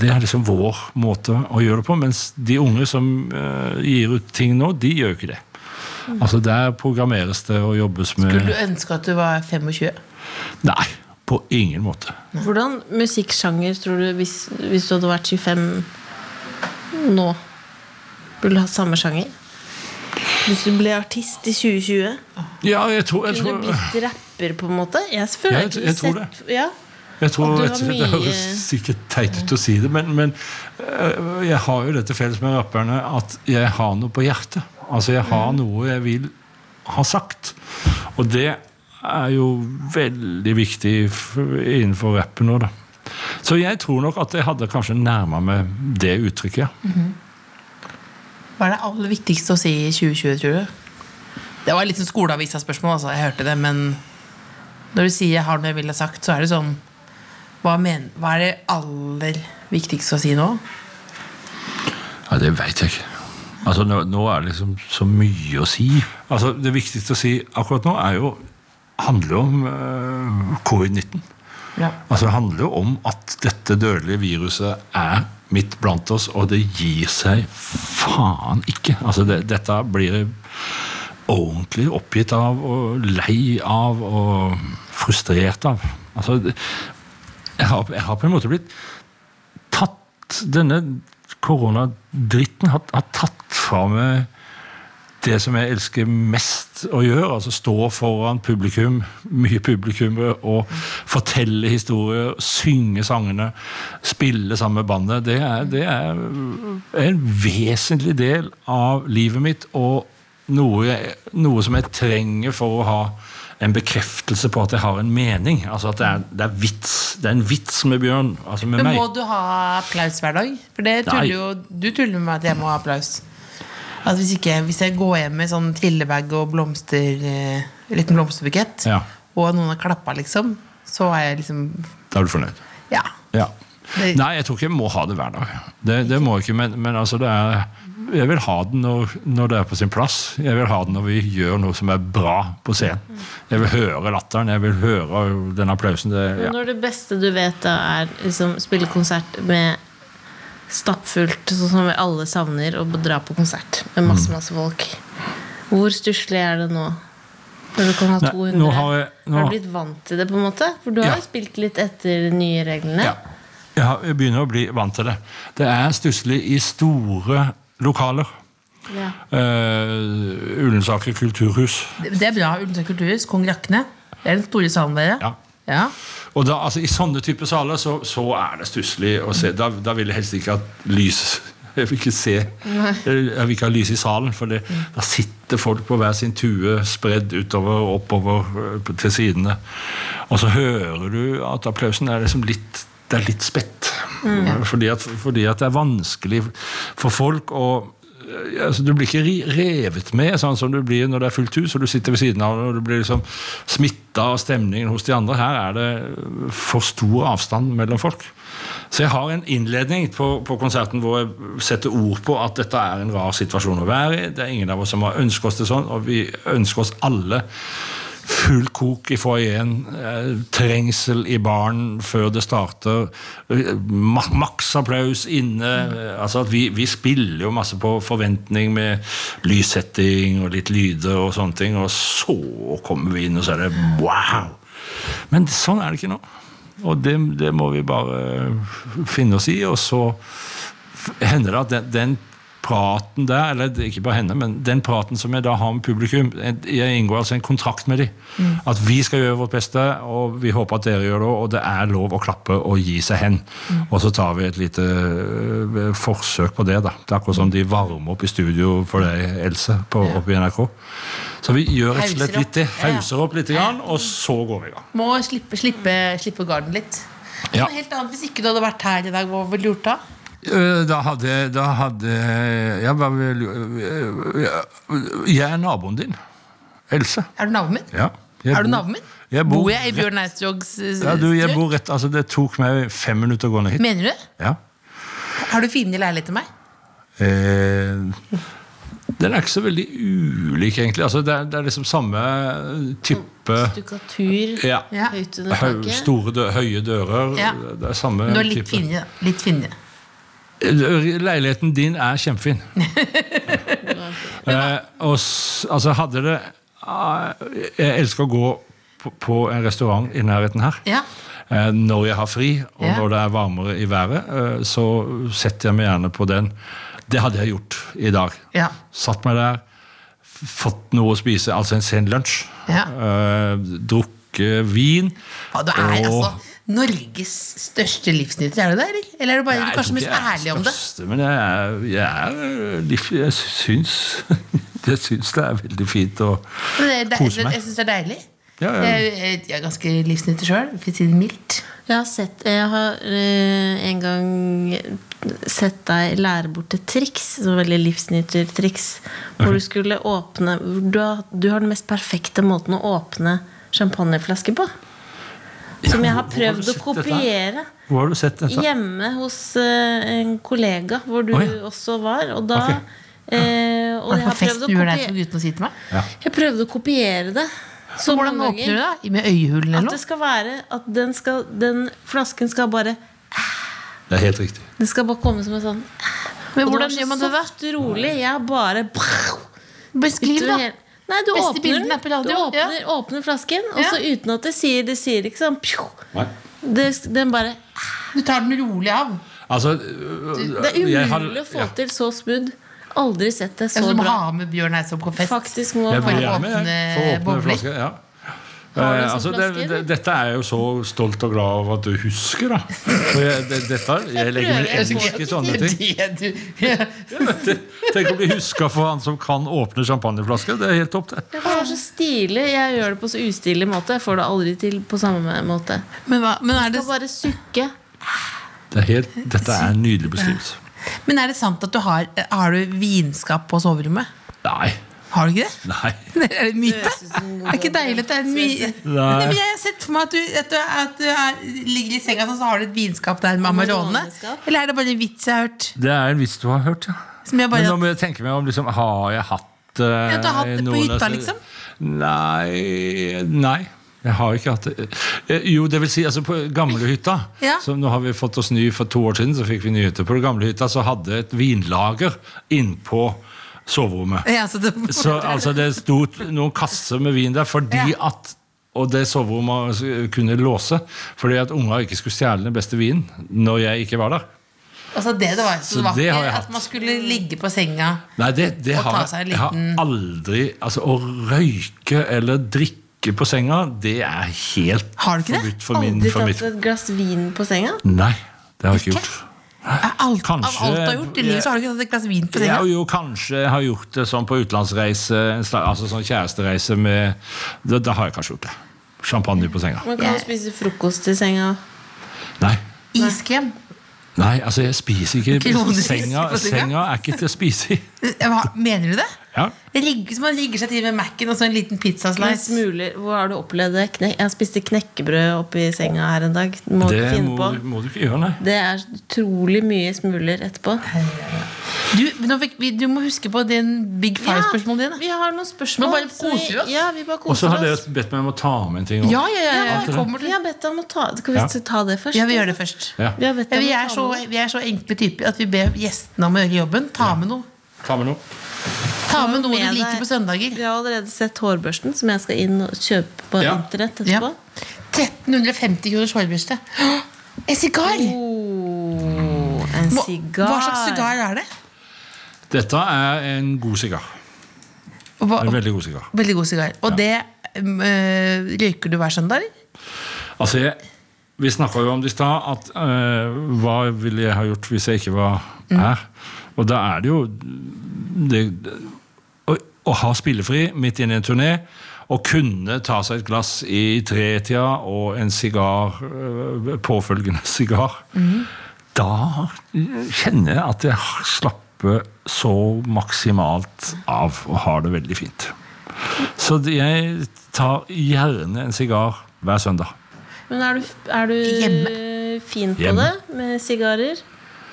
det er liksom vår måte å gjøre det på. Mens de unge som eh, gir ut ting nå, de gjør jo ikke det. Altså Der programmeres det og jobbes med Skulle du ønske at du var 25? Nei, på ingen måte. Hvordan musikksjanger tror du hvis, hvis du hadde vært 25 nå, burde du hatt samme sjanger? Hvis du ble artist i 2020? Ja, jeg tror, jeg Kunne tror du blitt rapper, på en måte? Jeg, Ja, føler jeg- ikke jeg tror sett- Ja. Jeg tror Og du rett og har slett, Det mye- høres sikkert teit ut å si det, men, men øh, jeg har jo dette felles med rapperne at jeg har noe på hjertet. Altså, jeg har Mm. noe jeg vil ha sagt. Og det er jo veldig viktig f- innenfor rappen nå, da. Så jeg tror nok at jeg hadde kanskje nærma meg det uttrykket. ja. Hva er det aller viktigste å si i 2020, tror du? Det var litt sånn skoleavisa-spørsmål, altså. Jeg hørte det, men når du sier 'jeg har noe jeg ville ha sagt', så er det sånn Hva, men, hva er det aller viktigste å si nå? Ja, det veit jeg ikke. Altså, nå, nå er det liksom så mye å si. Altså, Det viktigste å si akkurat nå er jo handler jo om øh, covid-19. Ja. Altså, det handler jo om at dette dødelige viruset er midt blant oss, og det gir seg faen ikke. Altså, det, dette blir jeg ordentlig oppgitt av, og lei av, og frustrert av. Altså, det- jeg har, jeg har på en måte blitt tatt Denne koronadritten har, har tatt fra meg det som jeg elsker mest å gjøre, altså stå foran publikum, mye publikummere, og fortelle historier, synge sangene, spille sammen med bandet, det er, det er en vesentlig del av livet mitt, og noe, jeg, noe som jeg trenger for å ha en bekreftelse på at jeg har en mening. Altså at det er, det er vits. Det er en vits med Bjørn, altså med Men meg. må du ha applaus hver dag? For det Nei. tuller jo, du tuller med meg at jeg må ha applaus. Altså hvis, ikke, hvis jeg går hjem med sånn trillebag og blomster, eh, liten blomsterbukett, Ja. og noen har klappa, liksom, så er jeg liksom Da er du fornøyd. Ja. Ja. Det- Nei, jeg tror ikke jeg må ha det hver dag. Det, det må jeg ikke, men, men altså det er Jeg vil ha den når, når det er på sin plass. Jeg vil ha den når vi gjør noe som er bra på scenen. Jeg vil høre latteren, jeg vil høre den applausen. Det, ja. Når det beste du vet, da er liksom spille konsert med stappfullt, sånn som vi alle savner, og dra på konsert med Mm. masse, masse folk. Hvor stusslig er det nå? Når du kan ha Nei, 200? nå har jeg- nå har har- du blitt vant til det, på en måte? For du Ja. har jo spilt litt etter de nye reglene. Ja. Jeg, har, jeg begynner å bli vant til det. Det er stusslig i store lokaler. Ja. Uh, Ullensaker kulturhus. Det det er bra. Ullensaker kulturhus, Kong Rakne. Det er den store salen dere. Ja. Ja. Og da, altså, I sånne typer saler så, så er det stusslig å se. Da, da vil jeg helst ikke at lys Jeg vil ikke se Jeg vil ikke ha lys i salen, for det, da sitter folk på hver sin tue spredd utover og oppover øh, på- til sidene. Og så hører du at applausen er liksom litt det er litt spett. Fordi, at, fordi at det er vanskelig for folk å ja, altså, du blir ikke ri- revet med, sånn som du blir når det er fullt hus, og du sitter ved siden av og du blir liksom smitta av stemningen hos de andre. Her er det for stor avstand mellom folk. Så jeg har en innledning på, på konserten hvor jeg setter ord på at dette er en rar situasjon å være i. Det er ingen av oss som har ønsket oss det sånn, og vi ønsker oss alle Full kok i foajeen, eh, trengsel i baren før det starter. eh, ma- Maks applaus inne. eh, Altså at vi, vi spiller jo masse på forventning med lyssetting og litt lyder og sånne ting, og så kommer vi inn, og så er det wow! Men sånn er det ikke nå. Og det, det må vi bare finne oss i, og så hender det at den, den praten der, eller det- ikke bare henne, men den praten som jeg da har med publikum, jeg inngår altså en kontrakt med dem. Mm. At vi skal gjøre vårt beste, og vi håper at dere gjør det, og det er lov å klappe og gi seg hen. Mm. Og så tar vi et lite øh, forsøk på det, da. Det er akkurat som de varmer opp i studio for deg, Else, på, oppe i NRK. Så vi gjør rett og Hauser slett litt det. opp. Ja, ja. Hauser opp litt, grann, og så går vi i gang. Må slippe, slippe, slippe garden litt. Ja. Noe helt annet Hvis ikke du hadde vært her i dag, hva ville du gjort da? Eh, Da hadde, da hadde jeg, var vel, jeg er naboen din. Else. Er du naboen min? Ja. Jeg Er du bor- naboen min? Jeg bor, bor, jeg i Bjørn Eidsvågs eh, ja, du, jeg strøk? bor rett, altså, det tok meg fem minutter å gå ned hit. Mener du det? Ja. Har du finere leilighet enn meg? Eh, Den er ikke så veldig ulik, egentlig. Altså, det, er, det er liksom samme type Stukatur ja. Ja. høyt under Høy, taket. store, dø høye dører. Ja. Det er samme Du er litt type. finere. da. Litt finere. Leiligheten din er kjempefin. eh, og s, altså, hadde det ah, Jeg elsker å gå på, på en restaurant i nærheten her. Ja. Eh, når jeg har fri, og Ja. når det er varmere i været, eh, så setter jeg meg gjerne på den. Det hadde jeg gjort i dag. Ja. Satt meg der, f- fått noe å spise, altså en sen lunsj. Ja. Eh, drukket vin. Ja, du er Og- altså Norges største livsnyter, er du det? Eller, eller er du bare Nei, jeg kanskje tror mest ikke jeg er ærlig om det? største, Men jeg er, jeg er litt- Jeg syns Jeg syns det er veldig fint å Men det, det, Kose jeg meg. jeg syns det er deilig. Ja, ja. Jeg, jeg, jeg er ganske livsnyter sjøl, for å si det mildt. Jeg har sett Jeg har eh, en gang sett deg lære bort et triks. Så veldig livsnytertriks. Hvor du skulle åpne hvor du har, du har den mest perfekte måten å åpne champagneflasker på. Som jeg har hvor- hvor har prøvd du å sett dette her? kopiere. Hvor har du sett dette? Hjemme hos eh, en kollega, hvor du Å, ja. også var. Og da Ok. eh, Og Var jeg det har på fest prøvd du å gjør der for kopiere, gutten å si til meg? jeg prøvde å kopiere det. Så hvordan mange åpner du ganger. da? I- Med øyehulen eller At noe? det skal være At den, skal, den flasken skal bare Det er helt riktig. Den skal bare komme som en sånn Men Og hvordan det gjør var man så det da? soft rolig. Jeg bare Beskriv utover da. hele- Nei, du Beste åpner, bildene den. er på radio, du ja. åpner, åpner flasken, og Ja. så uten at det sier Det sier ikke sånn pjo. det, Den bare Du tar den rolig av. Altså Det er jeg har- umulig å få ja. til så smooth. Aldri sett det Jeg så som Altså, må bra. ha med Bjørn Eidsvåg på fest. Faktisk må man Jeg blir ha- gjerne med, jeg. For å åpne åpne bobler. flasker. Ja. Har du Eh, sånn altså, flaske, det, det, eller? dette er jeg jo så stolt og glad over at du husker, da. For jeg, det, dette, jeg legger min prøver, jeg elsk får i sånne ting. Det du- Tenk å bli huska for han som kan åpne champagneflasker. Det er helt topp, det. Det var så stilig. Jeg gjør det på så ustilig måte. Jeg får det aldri til på samme måte. Men, hva, men, er Jeg det, skal bare sukke. det er helt, dette er en nydelig beskrivelse. men er det sant at du har Har du vinskap på soverommet? Nei. Har du ikke det? Nei. Det er en myte? Er ikke sånn deilig at det er en myte? Nei. Men jeg har sett for meg at du, at du, at du er, ligger i senga sånn, så har du et vinskap der med Amarone. Amaroneskap. Eller er det bare en vits jeg har hørt? Det er en vits du har hørt, ja. Som jeg Men bare nå må jeg tenke meg om liksom, Har jeg hatt eh, Ja, du har hatt det på noen- hytta, liksom? Nei. Nei. Jeg har ikke hatt det. Eh, Jo, det vil si, altså på gamlehytta Ja. som Nå har vi fått oss ny for to år siden, så fikk vi ny hytte. På gamlehytta så hadde et vinlager innpå soverommet. ja, så det, Så altså, det sto noen kasser med vin der fordi Ja. at og det soverommet kunne låse fordi at unger ikke skulle stjele den beste vinen når jeg ikke var der. altså det, det var, så Så det var det har jeg ikke hatt. at man skulle ligge på senga. Nei, det, det Og har ta seg en jeg, jeg har liten- aldri Altså, å røyke eller drikke på senga, det er helt Har du ikke det? forbudt for min Aldri for tatt mitt. et glass vin på senga. Nei, det har jeg ikke gjort. Er Alt, av Kanskje- alt du har gjort i livet, så har du ikke tatt et glass vin på senga. Jeg jo kanskje har gjort det sånn på utenlandsreise, en sla- altså sånn kjærestereise med Da, da har jeg kanskje gjort det. Champagne på senga. Man kan jo spise frokost i senga. Nei. Iskrem. Nei, altså jeg spiser ikke Kroneris senga, på senga? senga er ikke til å spise i. Eh, Hva- Mener du det? Ja. Rigg, så man rigger seg til med Mac-en og så en liten Men pizzaslice. smuler, hvor har du opplevd det? Kne jeg spiste knekkebrød oppi senga her en dag. Må Det du finne må, på. må du ikke gjøre, nei. Det er utrolig mye smuler etterpå. Du, nå fikk, vi- du må huske på din Big Five-spørsmålene dine. Vi har noen spørsmål. Men bare så vi- koser vi oss. Ja, vi bare Og så koser har dere oss. bedt meg om å ta med en ting. også. Ja, ja, ja, ja, vi jeg kommer til har bedt deg om å ta Skal vi Ja. ta det først? Ja, vi gjør det først. Ja. Vi har bedt Ja, deg om vi, å er ta så, med- vi er så enkle typer at vi ber gjestene om å gjøre jobben. Ta med noe. Ta med noe. Ta med noe med du liker deg. på søndager. Vi har allerede sett hårbørsten, som jeg skal inn og kjøpe på Ja. internett etterpå. Ja. 1350 kroners hårbørste. Åh, En sigar! Oh, en Hva, sigar. hva slags sigar er det? Dette er en god sigar. Og Hva, En veldig god sigar. veldig god sigar. Og det um, øh, røyker du hver søndag? eller? Altså, jeg, vi snakka jo om det i stad, at eh, hva ville jeg ha gjort hvis jeg ikke var her? Og da er det jo det, å, å ha spillefri midt inne i en turné, og kunne ta seg et glass i tretida og en sigar, eh, påfølgende sigar Da kjenner jeg at jeg slapper så maksimalt av og har det veldig fint. Så det- jeg tar gjerne en sigar hver søndag. Men er du, er du eh, Hjemme. fin på Hjemme. det med sigarer?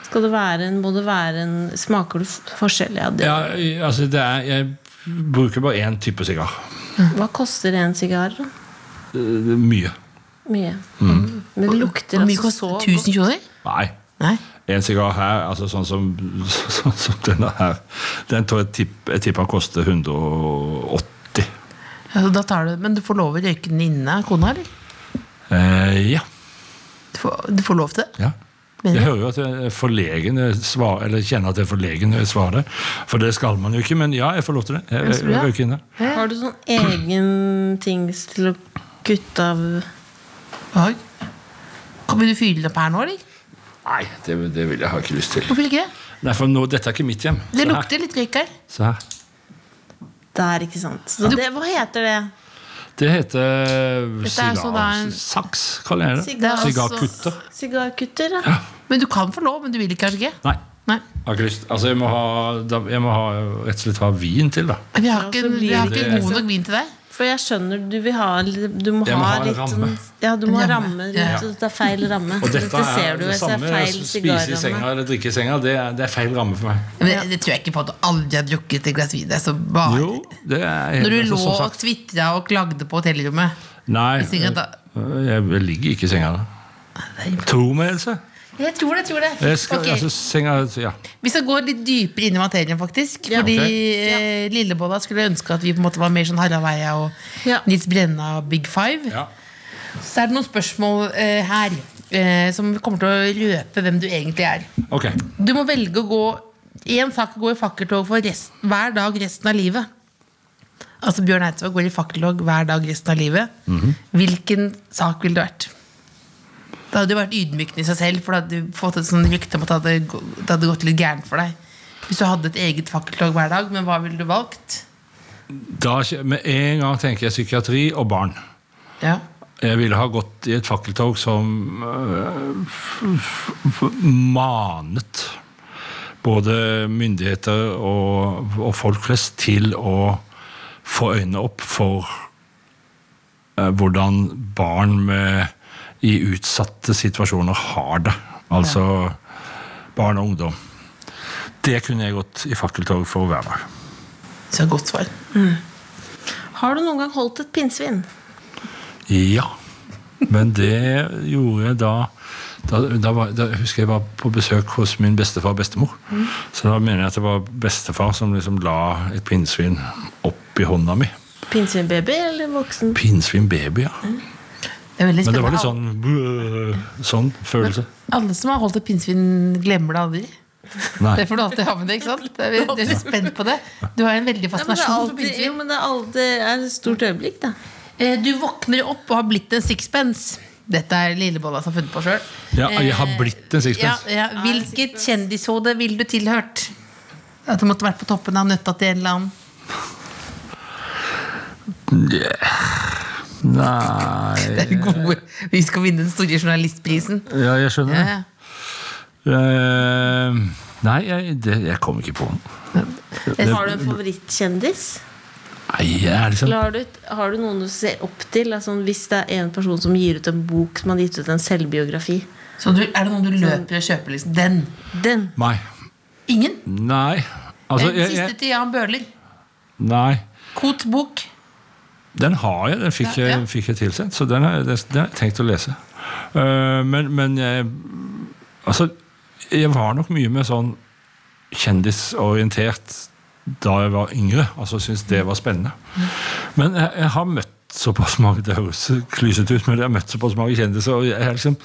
Skal det være en, må det være en Smaker du f- forskjell? Ja, det. Ja, i- altså det er, jeg bruker bare én type sigar. Hva koster en sigar? da? Eh, Mye. Mye. Mm. Men det lukter Hvor mye altså så koster godt. 1000 kroner? Nei. Nei. En sigar her, altså sånn som, sånn som denne her, den tror jeg tipp- jeg tipper han koster 180. Ja, da tar du, men du får lov å røyke den inne av kona, eller? Eh, ja. Du får, du får lov til det? ja. Men- Jeg hører jo at jeg er forlegen, når jeg svar, eller kjenner at jeg er forlegen når jeg svarer det. For det skal man jo ikke, men ja, jeg får lov til det. Jeg, jeg, jeg røyker inne. Har du sånn egen tings til å kutte av Oi. Kan- Vil du fyre den opp her nå, eller? Nei, det, det vil jeg ha ikke lyst til. Hvorfor ikke det? Nei, for nå, dette er ikke mitt hjem. Det Se her. lukter litt røyk her. Se her. der, ikke sant? Så det, hva heter det? Det heter Dette er så da en- sigarsaks, kaller jeg det. Det er altså- Sigarkutter. Sigarkutter? Ja. Men du kan få lov, men du vil ikke, kanskje ikke? Nei. Nei. Jeg har ikke lyst. Altså, jeg må, ha, da, jeg må ha, rett og slett ha vin til, da. Vi har Ja, ikke, så blir vi har det- ikke god nok vin til deg. For jeg skjønner du vil ha litt- Du må, Jeg må ha, ha en litt ramme. sånn Ja, du må ha Ramme. ramme rundt. Ja. og Det er feil ramme. Og dette ser er du, det jeg ser samme feil spise i sigarramme. senga eller drikke i senga. Det er, det er feil ramme for meg. Men det, det tror jeg ikke på at du aldri har drukket et glass vin. Det er så bare Jo, det er Når du altså, lå som og sagt- tvitra og klagde på hotellrommet. Nei, øh, i senga, da- jeg, jeg ligger ikke i senga da. Tro meg, Else. Jeg tror det. jeg tror det Jeg skal, Ok, altså, senga, ja. Vi skal gå litt dypere inn i materien, faktisk. Fordi eh, Lillebolla skulle ønske at vi på en måte var mer sånn Harald Eia og Ja. Nils Brenna og Big Five. ja. Så er det noen spørsmål eh, her eh, som kommer til å røpe hvem du egentlig er. Ok. Du må velge å gå én sak å gå i fakkeltog for rest, hver dag resten av livet. Altså Bjørn Eidsvåg går i fakkeltog hver dag resten av livet. Mhm. Hvilken sak ville det vært? Da hadde du vært ydmykende i seg selv, for da hadde du fått et sånn rykte om at det hadde, gå- det hadde gått litt gærent for deg. Hvis du hadde et eget fakkeltog hver dag, men hva ville du valgt? Da, med en gang tenker jeg psykiatri og barn. Ja. Jeg ville ha gått i et fakkeltog som øh, f- f- f- manet både myndigheter og, og folk flest til å få øynene opp for øh, hvordan barn med, i utsatte situasjoner har det. Altså barn og ungdom. Det kunne jeg gått i fakkeltog for hver dag. Så godt svar. Har du noen gang holdt et pinnsvin? Ja. Men det gjorde jeg da da, da, var, da husker jeg var på besøk hos min bestefar og bestemor. Så da mener jeg at det var bestefar som liksom la et pinnsvin opp i hånda mi. Pinnsvinbaby eller voksen? Pinnsvin baby, ja. Mm. Det er veldig Men det var spennende. litt sånn øh, Sånn følelse. Alle som har holdt et pinnsvin, glemmer det aldri. Nei. Det får du alltid ha med deg. ikke sant? Det er, vi- det er spent på det. Du har en veldig Ja, men det er fascinasjon for alltid, pinnsvin. jo, men det er alltid er et stort øyeblikk, da. Eh, Du våkner opp og har blitt en sixpence. Dette er Lillebolla som har funnet på sjøl. Ja, Ah, jeg har blitt en Ja, sixpence. ja. Hvilket kjendishode ville du tilhørt? At du måtte vært på toppen av nøtta til en eller annen. Nei Det er gode. Vi skal vinne den store journalistprisen. Ja, jeg skjønner det. Ja, Eh, nei, jeg, det, jeg kom ikke på noe. Har du en favorittkjendis? Nei, jeg er liksom Eller har du, et- har du noen du ser opp til? Altså, hvis det er en person som gir ut en bok som har gitt ut en selvbiografi. Så du, er det noen du løper og kjøper? liksom Den. Den! Nei. Ingen. Nei. Altså, Den jeg, siste jeg, til Jan Bøhler. nei. Kot bok. Den har jeg. Den fikk, Ja, ja. Jeg, fikk jeg tilsendt, så den har jeg, den har jeg tenkt å lese. Eh, men men jeg, altså, jeg var nok mye mer sånn kjendisorientert da jeg var yngre. Altså jeg syntes det var spennende. Mm. Men jeg, jeg har møtt såpass mange det høres klysete ut, men jeg har møtt såpass mange kjendiser, og jeg er liksom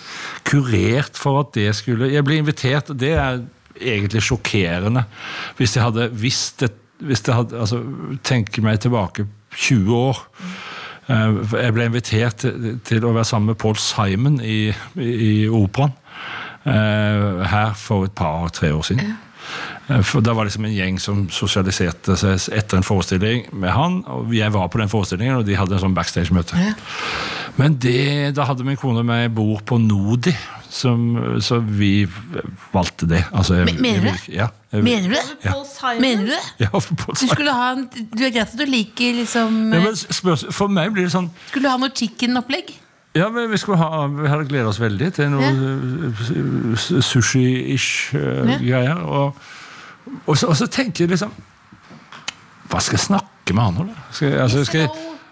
kurert for at det skulle Jeg ble invitert, og det er egentlig sjokkerende. Hvis jeg hadde visst det hvis jeg hadde, altså, tenker meg tilbake 20 år Eh, Jeg ble invitert til- til å være sammen med Paul Simon i, i, i operaen eh, her for et par-tre år siden. Eh, For Da var det liksom en gjeng som sosialiserte seg etter en forestilling med han. og Jeg var på den forestillingen, og de hadde en sånn backstage-møte. Men det, da hadde min kone og meg bord på Nodi, som, så vi valgte det. Altså, jeg- Men- mener du jeg- det? Ja. jeg- Mener du det? Paul Simon? Mener du det? Ja, for Paul Du Simon. skulle ha en, du er greit at du liker liksom Ja, men spørs- For meg blir det sånn Skulle du ha noe chicken-opplegg? Ja, men vi, skulle ha, vi hadde gleda oss veldig til noe eh, s- sushi-ish eh, Ja. greier. Og, og, så, og så tenkte jeg liksom Hva skal jeg snakke med han om? da? Skal, jeg- altså, skal jeg,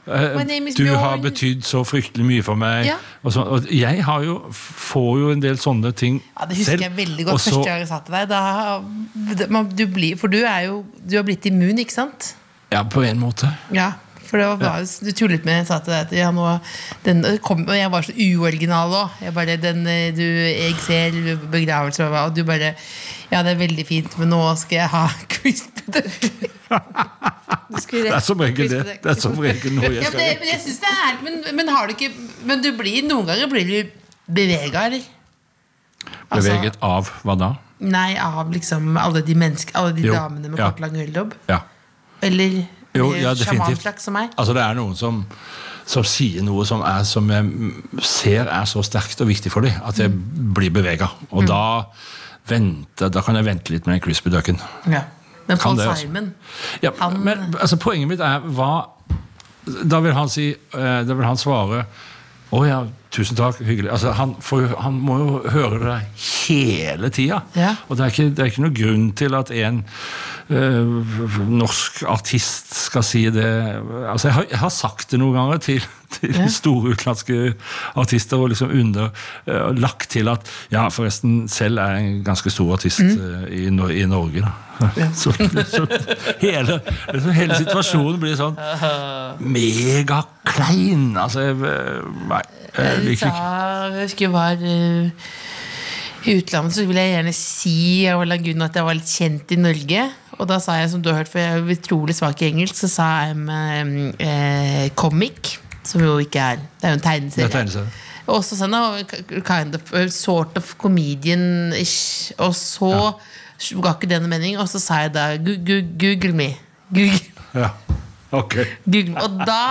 eh, My name is du har Bjørn. betydd så fryktelig mye for meg. Ja. Og, så, og jeg har jo, får jo en del sånne ting Ja, Det husker selv. jeg veldig og godt så- første gang jeg sa til deg. Da, det- man, du blir, for du er jo Du har blitt immun, ikke sant? Ja, på en måte. Ja, for det var bare, Du tullet med jeg sa til deg at ja, nå, den kom, og jeg var så uoriginal òg. Jeg bare den, eh, du, jeg ser begravelser over Og du bare Ja, det er veldig fint, men nå skal jeg ha crispy Du skulle Det rett- er som regel det. Det er som regel noe Ja, jeg skal men, det- men jeg synes det er ærlig, men, men har du ikke Men du blir, noen ganger blir du bevega, eller? altså- Beveget av. Hva da? Nei, av liksom alle de, menneske, alle de Jo, damene med ja. kort, lang hylledobb? Ja. Eller Jo, eller ja, definitivt. sjamanslaks som meg? Altså, det er noen som, som sier noe som, er, som jeg mm, ser er så sterkt og viktig for dem, at jeg blir bevega. Mm. Og da, venter, da kan jeg vente litt med den crispy ducken. Ja. Men Paul Kan det også. Simon Ja, Han- men altså, poenget mitt er hva Da vil han si eh, Da vil han svare å ja, tusen takk, hyggelig. Altså, han, får jo- han må jo høre det hele tida. Ja. Og det er, ikke, det er ikke noen grunn til at en eh, norsk artist skal si det Altså, jeg har, jeg har sagt det noen ganger til, til store utenlandske artister og liksom under eh, lagt til at ja, forresten, selv er jeg en ganske stor artist eh, i, Nor- i Norge, da. Så, så hele, liksom hele situasjonen blir sånn megaklein. Altså, jeg, nei, jeg liker ikke Da Eh, jeg husker jeg var eh, i utlandet, så ville jeg gjerne si av en eller annen grunn at jeg var litt kjent i Norge. Og da sa jeg, som du har hørt, for jeg er utrolig svak i engelsk, så sa jeg um, eh, comic. Som jo ikke er Det er jo en tegneserie. Det er tegneserie. Og så sa han "Oh, kind of, eh, sort of comedian-ish. Og så ga ikke det noen mening, og så sa jeg da "Gu- gu- Google me. Google. ja. Ok. Google. Og da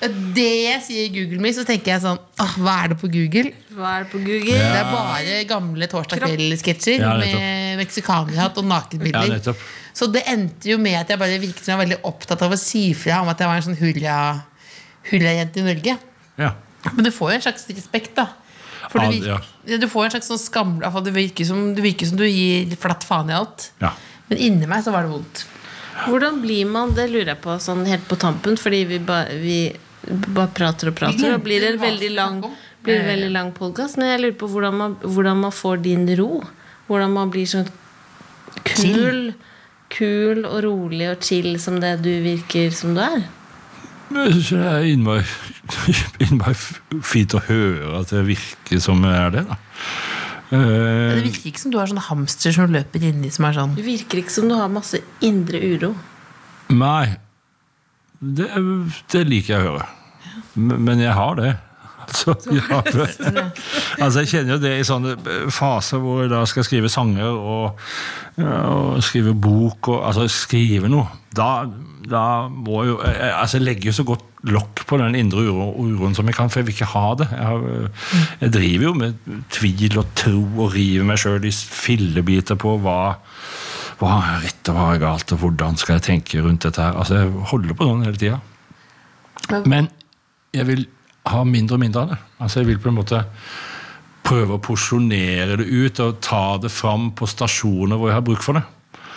Det jeg sier i Google Me, så tenker jeg sånn åh, Hva er det på Google? Hva er det på Google? Det er bare gamle torsdag kveld-sketsjer Ja, nettopp. med meksikanerhatt og Ja, nakenbilder. nettopp. så det endte jo med at jeg bare virket som jeg var veldig opptatt av å si fra om at jeg var en sånn hulla- hulla-jente i Norge. Ja. Men du får jo en slags respekt, da. For Ja, du, virker, ja. du får en slags sånn skam... altså, Du virker som du, virker som du gir flatt faen i alt. ja. Men inni meg så var det vondt. Hvordan blir man, det lurer jeg på sånn helt på tampen, fordi vi, ba, vi bare prater og prater, og blir det en veldig lang, Eh. blir det en veldig lang podkast. Men jeg lurer på hvordan man, hvordan man får din ro. Hvordan man blir sånn kul, kul og rolig og chill som det du virker som du er. Men Jeg syns det er innmari, innmari f- fint å høre at jeg virker som jeg er det, da. Men Eh, Det virker ikke som du har sånn hamster som løper inni, som er sånn Du virker ikke som du har masse indre uro. nei. Det, det liker jeg å høre. Men men jeg har det. Altså, jeg, har det. altså, jeg kjenner jo det i sånne eh, faser hvor jeg da skal skrive sanger og, og skrive bok og altså skrive noe. Da, da må jo jeg, jeg- altså, jeg legger jo så godt lokk på den indre uro, uroen som jeg kan, for jeg vil ikke ha det. Jeg, har, eh, jeg driver jo med tvil og tro og river meg sjøl i fillebiter på hva hva er rett og hva er galt, og hvordan skal jeg tenke rundt dette her. Altså, Jeg holder på sånn hele tida. Men jeg vil ha mindre og mindre av det. Altså, Jeg vil på en måte prøve å porsjonere det ut og ta det fram på stasjoner hvor jeg har bruk for det.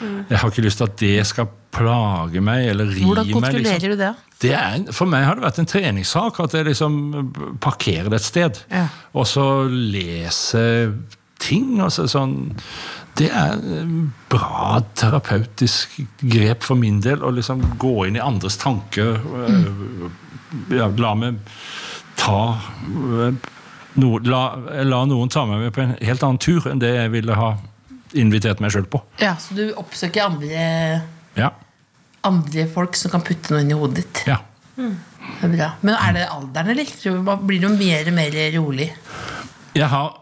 Jeg har ikke lyst til at det skal plage meg eller ri Mm. Hvordan meg. kontrollerer Liksom. du det? Det er, en- for meg har det vært en treningssak at jeg liksom parkerer det et sted. Ja. Og så leser ting. Altså sånn, det er en bra terapeutisk grep for min del å liksom gå inn i andres tanker. øh, Ja, la meg ta øh, no, la, la noen ta meg med på en helt annen tur enn det jeg ville ha invitert meg sjøl på. Ja, Så du oppsøker andre, Ja, andre folk som kan putte noe inn i hodet ditt? ja. Det er bra. Men er det alderen, eller? Tror du man Blir du mer og mer rolig? Jeg har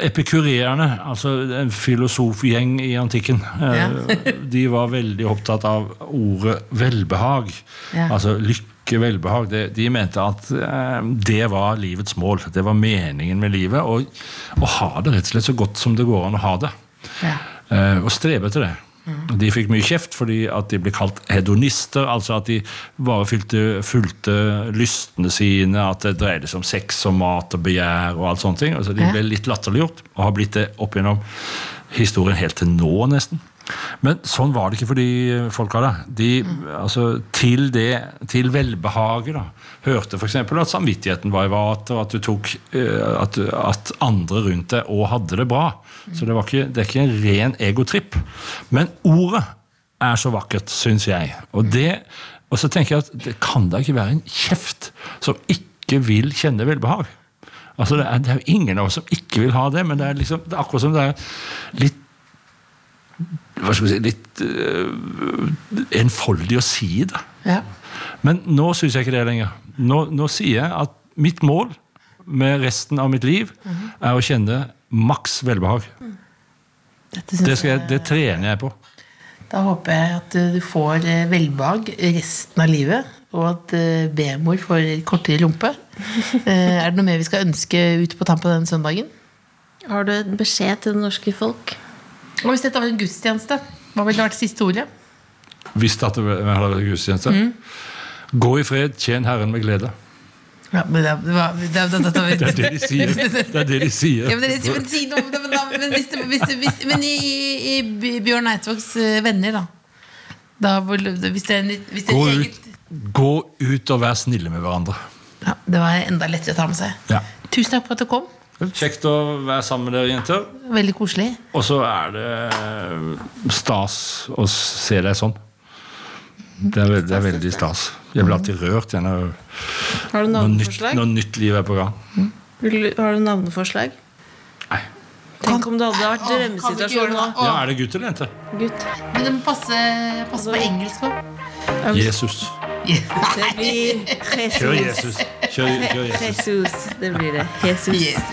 epikurerende, altså en filosofgjeng i antikken. Ja. eh, De var veldig opptatt av ordet velbehag. Ja. Altså lykke, velbehag. De, de mente at eh, det var livets mål. Det var meningen med livet. Og å ha det rett og slett så godt som det går an å ha det. Ja. Eh, og strebe etter det. De fikk mye kjeft fordi at de ble kalt hedonister, altså at de bare fylte, fulgte lystene sine, at det dreide seg om sex og mat og begjær og alt sånne ting. Altså de Ja. ble litt latterliggjort, og har blitt det opp gjennom historien helt til nå, nesten. Men sånn var det ikke for de folka. Da. De, altså, til, det, til velbehaget da, hørte f.eks. at samvittigheten var i vater, og at, du tok, eh, at, at andre rundt deg òg hadde det bra. Så det, var ikke, det er ikke en ren egotripp. Men ordet er så vakkert, syns jeg. Og, det, og så tenker jeg at det kan da ikke være en kjeft som ikke vil kjenne velbehag. Altså, det, er, det er jo ingen av oss som ikke vil ha det, men det er, liksom, det er akkurat som det er litt hva skal vi si, litt øh, enfoldig å si det. Ja. Men nå syns jeg ikke det lenger. Nå, nå sier jeg at mitt mål med resten av mitt liv er å kjenne maks velbehag. Dette Det, synes skal jeg, det trener jeg på. Da håper jeg at eh, du får eh, velbehag resten av livet, og at eh, B-mor får kortere rumpe. Eh, Er det noe mer vi skal ønske ut på tampen denne søndagen? Har du en beskjed til det norske folk? Og hvis dette var en gudstjeneste, hva ville vært siste ordet? Hvis det hadde vært gudstjeneste. Gå i fred, tjen Herren med glede. Ja, men det, det, var- det, det, det, Det er det de sier. Det er det de sier. Ja, men, det, men, si noe om det, men, da, men, hvis, det- hvis, det- hvis, men i, i By- Bjørn Eidsvågs eh, venner, da? da vil- hvis det er en, litt- hvis det Gå er et ut, eget, gå ut og vær snille med hverandre. ja, Det var enda lettere å ta med seg. Ja. Tusen takk for at du kom. Kjekt å være sammen med dere, jenter. Veldig koselig. Og så er det stas å se deg sånn. Det er, veld- det er veldig stas. Jeg blir alltid rørt jeg, når, Har du når, nytt, navneforslag? når nytt liv er på gang. Vil du- Har du navneforslag? Nei. Tenk om det hadde vært Kan vi ikke gjøre drømmesituasjon nå. det da? Ja, er det gutt eller jente? Gutt. Men det må passe, passe på engelsk òg. Jesus. Det blir Kjør Jesus. Jesus. Kjør, kjør Jesus. Jesus. Det blir det. Jesus.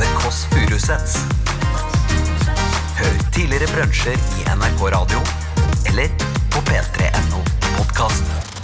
The Kåss Furuseths. Hør tidligere brunsjer i NRK Radio eller på p3.no podkast.